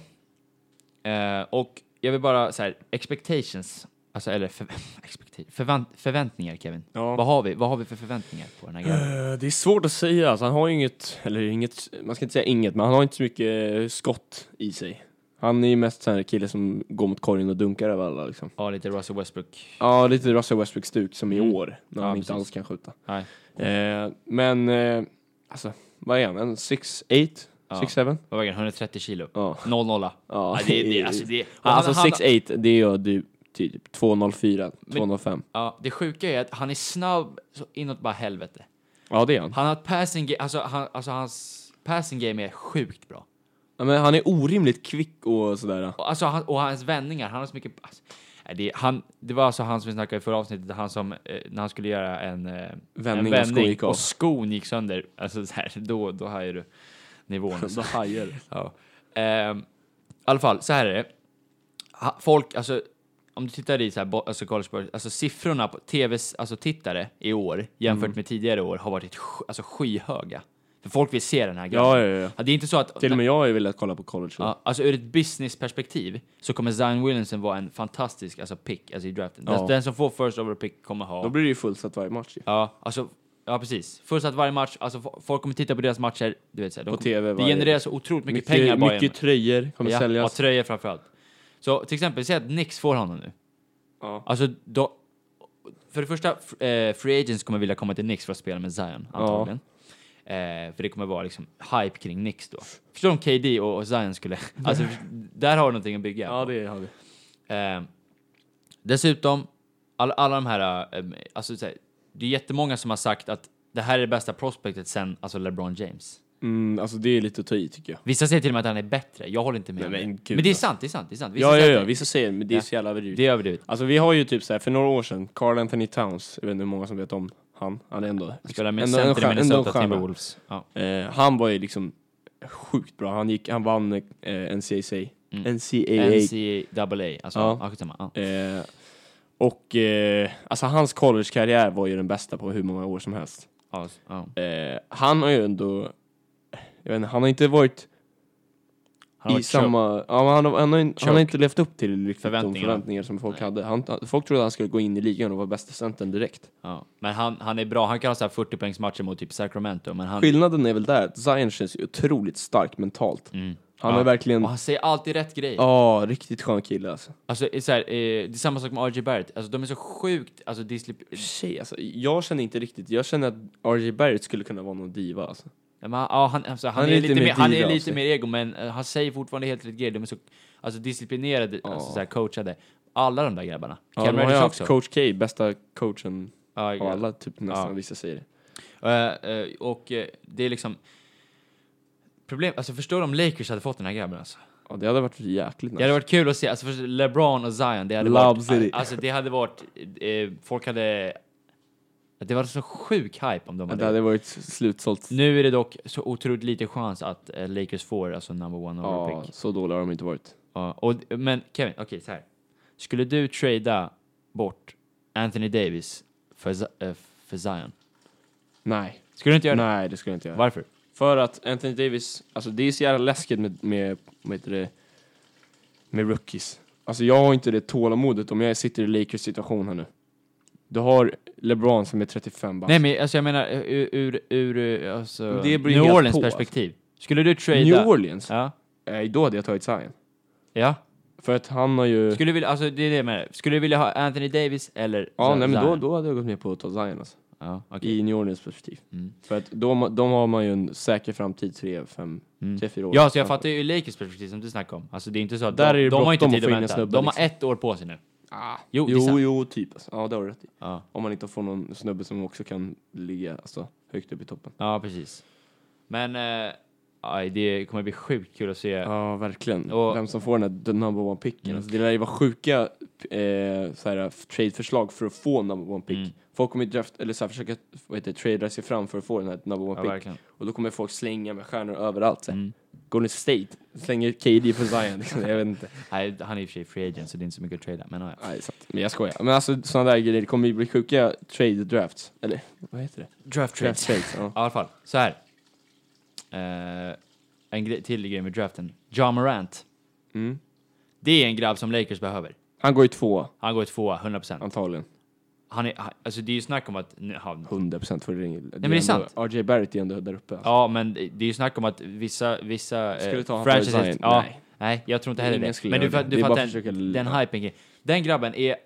[SPEAKER 1] Eh, och jag vill bara så här, expectations, alltså eller för, expecta- förvänt, förväntningar Kevin.
[SPEAKER 3] Ja.
[SPEAKER 1] Vad har vi? Vad har vi för förväntningar på den här grabben?
[SPEAKER 3] Eh, Det är svårt att säga. Alltså, han har ju inget, eller inget, man ska inte säga inget, men han har inte så mycket eh, skott i sig. Han är ju mest sån här kille som går mot korgen och dunkar över alla liksom.
[SPEAKER 1] Ja, lite Russell Westbrook.
[SPEAKER 3] Ja, lite Russell Westbrook-stuk som i
[SPEAKER 1] Mm.
[SPEAKER 3] år, när
[SPEAKER 1] Ja,
[SPEAKER 3] han inte
[SPEAKER 1] precis.
[SPEAKER 3] alls kan skjuta.
[SPEAKER 1] Nej.
[SPEAKER 3] Eh, men, eh, alltså, vad är han? En 6'8?
[SPEAKER 1] Ja.
[SPEAKER 3] 6'7?
[SPEAKER 1] Vad väger han? 130 kilo.
[SPEAKER 3] Ja.
[SPEAKER 1] 0 0
[SPEAKER 3] ja.
[SPEAKER 1] Ja, det, det, alltså, det, och han-
[SPEAKER 3] alltså
[SPEAKER 1] han-
[SPEAKER 3] 6'8, det gör du typ 2'04, 2'05.
[SPEAKER 1] Ja, det sjuka är att han är snabb så inåt bara helvete.
[SPEAKER 3] Ja, det är han.
[SPEAKER 1] Han har ett passing game, alltså, han, alltså hans passing game är sjukt bra.
[SPEAKER 3] Ja, men han är orimligt kvick och sådär.
[SPEAKER 1] Och, alltså, han, och hans vändningar, han har så mycket... Alltså, nej, det, han, det var alltså han som vi snackade i förra avsnittet, han som, eh, när han skulle göra en eh,
[SPEAKER 3] Vändning och
[SPEAKER 1] en
[SPEAKER 3] skon gick av.
[SPEAKER 1] och skon gick sönder. Alltså så här, då, då har ju du nivån.
[SPEAKER 3] Då hajar det.
[SPEAKER 1] Ja. Ehm, I alla fall, så här är det. Ha- Folk, alltså om du tittar i så här, bo- alltså, college sports, alltså siffrorna på tv-tittare alltså, tittare i år jämfört
[SPEAKER 3] Mm.
[SPEAKER 1] med tidigare år har varit ett sj- alltså, skyhöga. För folk vill se den här grejen.
[SPEAKER 3] Ja, ja, ja.
[SPEAKER 1] Det är inte så att...
[SPEAKER 3] Till och med jag har ju velat kolla på college. då.
[SPEAKER 1] Ja, alltså ur ett businessperspektiv så kommer Zion Williamson vara en fantastisk alltså, pick alltså, i draften. Den,
[SPEAKER 3] Ja.
[SPEAKER 1] den som får first overall pick kommer ha...
[SPEAKER 3] Då blir det ju fullsatt varje match ju.
[SPEAKER 1] Ja, alltså, ja precis. Fullsatt varje match, alltså fo- folk kommer titta på deras matcher, du vet så här, de
[SPEAKER 3] På
[SPEAKER 1] kommer-
[SPEAKER 3] TV
[SPEAKER 1] Det
[SPEAKER 3] varje-
[SPEAKER 1] genereras så otroligt mycket, pengar bara
[SPEAKER 3] Mycket tröjor kommer
[SPEAKER 1] ja,
[SPEAKER 3] säljas.
[SPEAKER 1] och tröjor framförallt. Så till exempel, säg att Nix får honom nu.
[SPEAKER 3] Ja.
[SPEAKER 1] Alltså, då, för det första, f- eh, free agents kommer vilja komma till Nix för att spela med Zion, antagligen. Eh, för det kommer vara liksom hype kring Nix då. Förstår du om KD och, och Zion skulle... Alltså, där har du någonting att bygga.
[SPEAKER 3] ja, det har vi.
[SPEAKER 1] Eh, dessutom, alla, alla de här, eh, alltså, så här, det är jättemånga som har sagt att det här är det bästa prospectet sen alltså LeBron James.
[SPEAKER 3] Mm, alltså det är lite att ta i tycker jag.
[SPEAKER 1] Vissa säger till och med att han är bättre, jag håller inte med.
[SPEAKER 3] Nej,
[SPEAKER 1] om
[SPEAKER 3] men
[SPEAKER 1] det.
[SPEAKER 3] gud,
[SPEAKER 1] men det är
[SPEAKER 3] alltså.
[SPEAKER 1] sant, det är sant. Det är sant. Vissa
[SPEAKER 3] Ja, ja,
[SPEAKER 1] säger
[SPEAKER 3] ja,
[SPEAKER 1] att det-
[SPEAKER 3] vissa säger men det är
[SPEAKER 1] Ja.
[SPEAKER 3] så jävla överdrivet.
[SPEAKER 1] Det är överdrivet.
[SPEAKER 3] Alltså vi har ju typ så här för några år sedan, Carl Anthony Towns, jag vet inte hur många som vet om han, han är ändå...
[SPEAKER 1] Han spelar med
[SPEAKER 3] ändå en
[SPEAKER 1] center i
[SPEAKER 3] stjär- ändå en
[SPEAKER 1] Minnesota
[SPEAKER 3] stjärna.
[SPEAKER 1] Timberwolves. Ja.
[SPEAKER 3] Eh, han var ju liksom sjukt bra, han, gick, han vann eh, NCAA.
[SPEAKER 1] Mm.
[SPEAKER 3] NCAA.
[SPEAKER 1] NCAA, alltså.
[SPEAKER 3] Ja.
[SPEAKER 1] Ja. skitsamma, Ja.
[SPEAKER 3] Eh, och eh, alltså hans collegekarriär var ju den bästa på hur många år som helst.
[SPEAKER 1] Ja. Ja.
[SPEAKER 3] Eh, han har ju ändå, jag vet inte, han har inte varit
[SPEAKER 1] Han har
[SPEAKER 3] i
[SPEAKER 1] varit choke.
[SPEAKER 3] samma, ja, men han, har, han, har, han
[SPEAKER 1] Choke.
[SPEAKER 3] har inte levt upp till riktigt de
[SPEAKER 1] Förväntningarna.
[SPEAKER 3] förväntningar som folk hade. Han, han- folk trodde att han skulle gå in i ligan och vara bästa centern direkt.
[SPEAKER 1] Ja. Men han, han är bra, han kan ha så här 40 poängsmatcher mot typ Sacramento, men han...
[SPEAKER 3] Skillnaden är väl där att Zion känns ju otroligt stark mentalt.
[SPEAKER 1] Mm.
[SPEAKER 3] Han
[SPEAKER 1] Ja.
[SPEAKER 3] är verkligen,
[SPEAKER 1] Och han säger alltid rätt grejer.
[SPEAKER 3] ja, riktigt skön kille alltså.
[SPEAKER 1] Alltså, det är så här, eh, det är samma sak med RJ Barrett. Alltså, de är så sjukt... Alltså, dislip...
[SPEAKER 3] Tjej, alltså, jag känner inte riktigt, jag känner att RJ Barrett skulle kunna vara någon diva alltså.
[SPEAKER 1] Ja, men, han- ja, han, alltså, han, är lite, mer, han
[SPEAKER 3] diva
[SPEAKER 1] är
[SPEAKER 3] av
[SPEAKER 1] lite
[SPEAKER 3] sig.
[SPEAKER 1] mer ego, men eh, han säger fortfarande helt rätt grejer. De är så alltså, disciplinerade, alltså,
[SPEAKER 3] Ja.
[SPEAKER 1] så här, coachade. Alla de där grabbarna.
[SPEAKER 3] Ja,
[SPEAKER 1] Cam
[SPEAKER 3] de har ju
[SPEAKER 1] Reddish
[SPEAKER 3] haft
[SPEAKER 1] också.
[SPEAKER 3] coach K, bästa coachen
[SPEAKER 1] Ja,
[SPEAKER 3] av alla, typ nästan
[SPEAKER 1] Ja.
[SPEAKER 3] vissa säger det.
[SPEAKER 1] Eh, eh, och eh, det är liksom... Problem, alltså förstår du om Lakers hade fått den här grabben alltså?
[SPEAKER 3] Ja, det hade varit jäkligt nice.
[SPEAKER 1] Det hade varit kul att se, alltså först LeBron och Zion, det hade
[SPEAKER 3] Love
[SPEAKER 1] varit...
[SPEAKER 3] City.
[SPEAKER 1] Alltså det hade varit... Eh, folk hade... Det var så sjuk hype om de
[SPEAKER 3] Ja,
[SPEAKER 1] hade...
[SPEAKER 3] Det hade varit slutsålt.
[SPEAKER 1] Nu är det dock så otroligt lite chans att eh, Lakers får alltså number one overall
[SPEAKER 3] Ja,
[SPEAKER 1] pick.
[SPEAKER 3] så dåliga har de inte varit.
[SPEAKER 1] Ja, och, men Kevin, okej så här. Skulle du trada bort Anthony Davis för, Z- eh, för Zion?
[SPEAKER 3] Nej.
[SPEAKER 1] Skulle du inte göra
[SPEAKER 3] Nej, det skulle jag inte
[SPEAKER 1] det?
[SPEAKER 3] göra.
[SPEAKER 1] Varför?
[SPEAKER 3] För att Anthony Davis, alltså det är så jävla läskigt med, med, vad heter det, med rookies. Alltså jag har inte det tålamodet om jag sitter i Lakers situation här nu. Du har LeBron som är 35 bast.
[SPEAKER 1] Nej men alltså jag menar eh, ur, ur, ur eh, alltså,
[SPEAKER 3] Men det beror ju
[SPEAKER 1] New
[SPEAKER 3] helt
[SPEAKER 1] Orleans
[SPEAKER 3] på, Alltså.
[SPEAKER 1] perspektiv. Skulle du trada...
[SPEAKER 3] New Orleans? Mm.
[SPEAKER 1] Ja.
[SPEAKER 3] Nej, då hade jag tagit Zion.
[SPEAKER 1] ja.
[SPEAKER 3] För att han har ju...
[SPEAKER 1] Skulle du vilja, alltså det är det jag menar. Skulle du vilja ha Anthony Davis eller
[SPEAKER 3] ja,
[SPEAKER 1] Z-
[SPEAKER 3] nej men då,
[SPEAKER 1] Zion?
[SPEAKER 3] då hade jag gått med på att ta Zion alltså.
[SPEAKER 1] Ja, okej.
[SPEAKER 3] I New Orleans perspektiv.
[SPEAKER 1] Mm.
[SPEAKER 3] För att de, de har man ju en säker framtid, 3, 5,
[SPEAKER 1] Mm.
[SPEAKER 3] 3, 4 år.
[SPEAKER 1] Ja, så jag fattar ju Lakers perspektiv som du snackar om. Alltså det är inte så att
[SPEAKER 3] Där är
[SPEAKER 1] de,
[SPEAKER 3] det
[SPEAKER 1] de har ju inte
[SPEAKER 3] bråttom
[SPEAKER 1] tid att
[SPEAKER 3] att få in en
[SPEAKER 1] vänta.
[SPEAKER 3] snubbe,
[SPEAKER 1] de har
[SPEAKER 3] liksom.
[SPEAKER 1] ett år på sig nu.
[SPEAKER 3] Ah.
[SPEAKER 1] Jo, det är
[SPEAKER 3] Jo,
[SPEAKER 1] sant.
[SPEAKER 3] jo, typ. Alltså. Ja, det har du rätt i.
[SPEAKER 1] Ja.
[SPEAKER 3] Om man inte får någon snubbe som också kan ligga alltså, högt upp i toppen.
[SPEAKER 1] Ja, precis. Men eh, aj, det kommer bli sjukt kul att se.
[SPEAKER 3] Ja, verkligen.
[SPEAKER 1] Och-
[SPEAKER 3] Vem som får den här the number one picken.
[SPEAKER 1] Mm.
[SPEAKER 3] Alltså, det lär ju vara sjuka eh, så här, f- trade-förslag för att få number one pick.
[SPEAKER 1] Mm.
[SPEAKER 3] Folk kommer ju draft, eller så här, försöka vad heter, det, tradea sig fram för att få den här number
[SPEAKER 1] Ja,
[SPEAKER 3] one pick.
[SPEAKER 1] verkligen.
[SPEAKER 3] Och då kommer folk slänga med stjärnor överallt. Så här.
[SPEAKER 1] Mm.
[SPEAKER 3] Golden State slänger KD på Zion. Liksom. Jag vet inte.
[SPEAKER 1] Nej, han är i och för sig free agent så det är inte så mycket att trada, men ja. ja.
[SPEAKER 3] Nej, sant. Men jag skojar. Men alltså sådana där grejer, det kommer ju bli sjuka trade drafts. Eller vad heter det?
[SPEAKER 1] Draft
[SPEAKER 3] Draft trades. Ja.
[SPEAKER 1] Ja, I alla fall, så här. Eh, en gre- till grej med draften. John Morant.
[SPEAKER 3] Mm.
[SPEAKER 1] Det är en grabb som Lakers behöver.
[SPEAKER 3] Han går ju två
[SPEAKER 1] Han går i tvåa, 100%.
[SPEAKER 3] antagligen.
[SPEAKER 1] Han är, han, alltså det är ju snack om att... nu- Han,
[SPEAKER 3] 100% för det. Nej men
[SPEAKER 1] det är sant.
[SPEAKER 3] RJ Barrett är ändå där uppe. Alltså.
[SPEAKER 1] ja, men det det är ju snack om att vissa... vissa eh,
[SPEAKER 3] Skulle ta han för
[SPEAKER 1] franchises...
[SPEAKER 3] Zion?
[SPEAKER 1] Ja,
[SPEAKER 3] Nej.
[SPEAKER 1] nej. jag tror inte heller
[SPEAKER 3] Ingen
[SPEAKER 1] det.
[SPEAKER 3] skulle
[SPEAKER 1] Men du, fa-
[SPEAKER 3] göra det.
[SPEAKER 1] du
[SPEAKER 3] Det är bara
[SPEAKER 1] fattar
[SPEAKER 3] att försöka
[SPEAKER 1] den,
[SPEAKER 3] l-
[SPEAKER 1] den hypen. kring- Den grabben är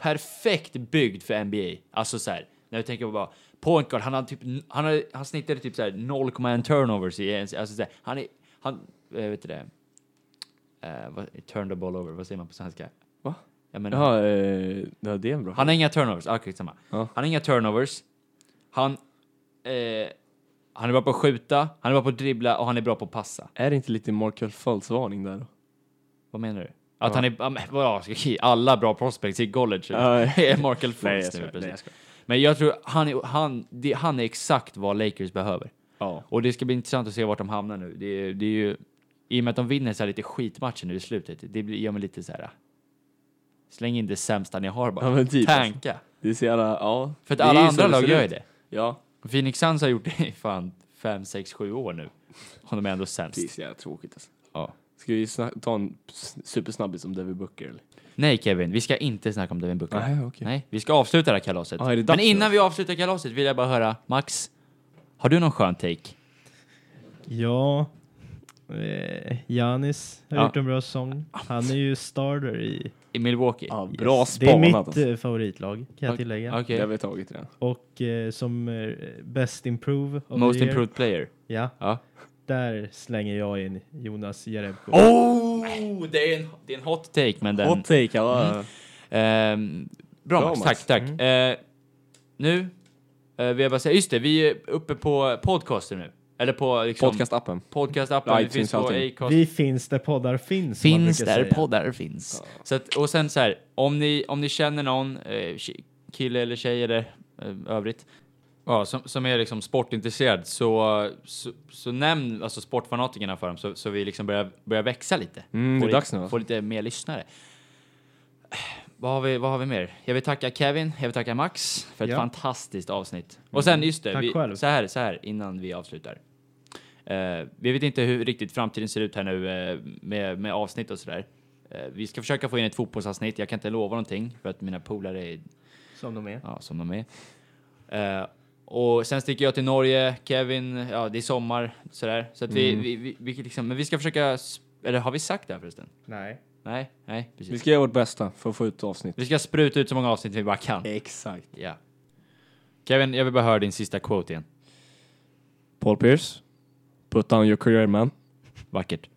[SPEAKER 1] perfekt byggd för NBA. Alltså så här, när du tänker på bara... Point guard, han, har typ, han, har, han snittade typ så här 0,1 turnovers i en... Alltså så här, han är... Han, jag vet inte det. Eh, vad, turn the ball over, vad säger man på svenska?
[SPEAKER 3] Va?
[SPEAKER 1] Jag menar,
[SPEAKER 3] Jaha, eh, ja, det är en bra.
[SPEAKER 1] han har inga turnovers. Ah, skitsamma.
[SPEAKER 3] Ja.
[SPEAKER 1] Han har inga turnovers. Han, eh, han är bra på att skjuta, han är bra på att dribbla och han är bra på att passa.
[SPEAKER 3] Är det inte lite Markel Fultz-varning där då?
[SPEAKER 1] Vad menar du? Att han är... ja, men Vadå, ska- alla bra prospects i college
[SPEAKER 3] Ja.
[SPEAKER 1] är Markel
[SPEAKER 3] Nej, jag
[SPEAKER 1] Fultz nu.
[SPEAKER 3] skojar. Nej, jag
[SPEAKER 1] precis. Men jag tror han är, han, det, han är exakt vad Lakers behöver.
[SPEAKER 3] Ja.
[SPEAKER 1] Och det ska bli intressant att se vart de hamnar nu. Det, är- det är ju... I och med att de vinner så här lite skitmatcher nu i slutet, det blir, gör mig lite så här... "Ah, Släng in det sämsta ni har bara.
[SPEAKER 3] Ja, men typ, alltså.
[SPEAKER 1] Tanka.
[SPEAKER 3] Det är så jävla, ja.
[SPEAKER 1] För att
[SPEAKER 3] Det är
[SPEAKER 1] alla
[SPEAKER 3] ju så
[SPEAKER 1] andra
[SPEAKER 3] det
[SPEAKER 1] lag
[SPEAKER 3] ser
[SPEAKER 1] gör ju
[SPEAKER 3] ut.
[SPEAKER 1] det.
[SPEAKER 3] Ja.
[SPEAKER 1] Phoenix Suns har gjort det i fan 5, 6, 7 år nu. Och de är ändå
[SPEAKER 3] Det är
[SPEAKER 1] sämst.
[SPEAKER 3] så jävla tråkigt alltså.
[SPEAKER 1] Ja.
[SPEAKER 3] Ska vi sna- ta en s- supersnabbis om Devin Booker eller?
[SPEAKER 1] Nej Kevin, vi ska inte snacka om Devin Booker.
[SPEAKER 3] Nej, okej.
[SPEAKER 1] Nej, vi ska avsluta det här kalaset.
[SPEAKER 3] Ja, är det dags
[SPEAKER 1] Men innan vi avslutar kalaset vill jag bara höra, Max, har du någon skön take?
[SPEAKER 2] Ja, eh, Janis har
[SPEAKER 1] Ja.
[SPEAKER 2] gjort en bra sång. Han är ju starter i...
[SPEAKER 1] I Milwaukee?
[SPEAKER 3] Ja, bra
[SPEAKER 2] Yes. Det
[SPEAKER 3] spanat
[SPEAKER 2] är mitt
[SPEAKER 3] alltså.
[SPEAKER 2] eh, favoritlag, kan jag tillägga.
[SPEAKER 1] Okej.
[SPEAKER 3] Det har vi tagit redan.
[SPEAKER 2] Och eh, som eh, Best Improve of
[SPEAKER 1] Most
[SPEAKER 2] the year,
[SPEAKER 1] improved player?
[SPEAKER 2] Ja,
[SPEAKER 1] Ja.
[SPEAKER 2] där slänger jag in Jonas Jerebko.
[SPEAKER 1] Oh! Det är, en, det är en hot take, men den...
[SPEAKER 3] Hot take, alla.
[SPEAKER 1] Ehm, bra,
[SPEAKER 3] Bra,
[SPEAKER 1] Max.
[SPEAKER 3] Max. Mm.
[SPEAKER 1] Tack, tack. Eh, nu, eh, vill jag bara säga, just det, vi är uppe på podcaster nu. Eller på liksom,
[SPEAKER 3] Podcastappen.
[SPEAKER 1] podcastappen, vi
[SPEAKER 3] iTunes,
[SPEAKER 1] finns på
[SPEAKER 3] allting.
[SPEAKER 1] Acast.
[SPEAKER 2] Vi finns där poddar finns. som man
[SPEAKER 1] Finns
[SPEAKER 2] brukar
[SPEAKER 1] där
[SPEAKER 2] säga.
[SPEAKER 1] poddar finns. Så att, och sen så här, om ni, om ni känner någon, eh, ki- kille eller tjej eller eh, övrigt, ja, som, som är liksom sportintresserad, så, så, så nämn alltså sportfanatikerna för dem, så, så vi liksom börjar, börjar växa lite.
[SPEAKER 3] Mm,
[SPEAKER 1] Får
[SPEAKER 3] det är
[SPEAKER 1] lite-
[SPEAKER 3] dags nu, va?
[SPEAKER 1] Får lite mer lyssnare. Eh, Vad har, vi, vad har vi mer? Jag vill tacka Kevin, jag vill tacka Max för ett
[SPEAKER 2] Ja.
[SPEAKER 1] fantastiskt avsnitt.
[SPEAKER 3] Mm.
[SPEAKER 1] Och sen just det,
[SPEAKER 2] Tack
[SPEAKER 1] vi,
[SPEAKER 2] själv.
[SPEAKER 1] så, här, så här innan vi avslutar. Eh, vi vet inte hur riktigt framtiden ser ut här nu eh, med, med avsnitt och sådär. Eh, vi ska försöka få in ett fotbollsavsnitt. Jag kan inte lova någonting för att mina polare är
[SPEAKER 2] Som de är.
[SPEAKER 1] ja, som de är. Eh, och sen sticker jag till Norge, Kevin, ja det är sommar sådär. Så att vi, vi, vi, vi liksom, men vi ska försöka, s- eller har vi sagt det här förresten?
[SPEAKER 2] Nej.
[SPEAKER 1] Nej, nej, precis.
[SPEAKER 3] Vi ska göra vårt bästa för att få ut avsnitt.
[SPEAKER 1] Vi ska spruta ut så många avsnitt vi bara kan.
[SPEAKER 3] Eh. Exakt.
[SPEAKER 1] Ja. Kevin, jag vill bara höra din sista quote igen.
[SPEAKER 3] Paul Pierce. Put down your career man.
[SPEAKER 1] Vackert.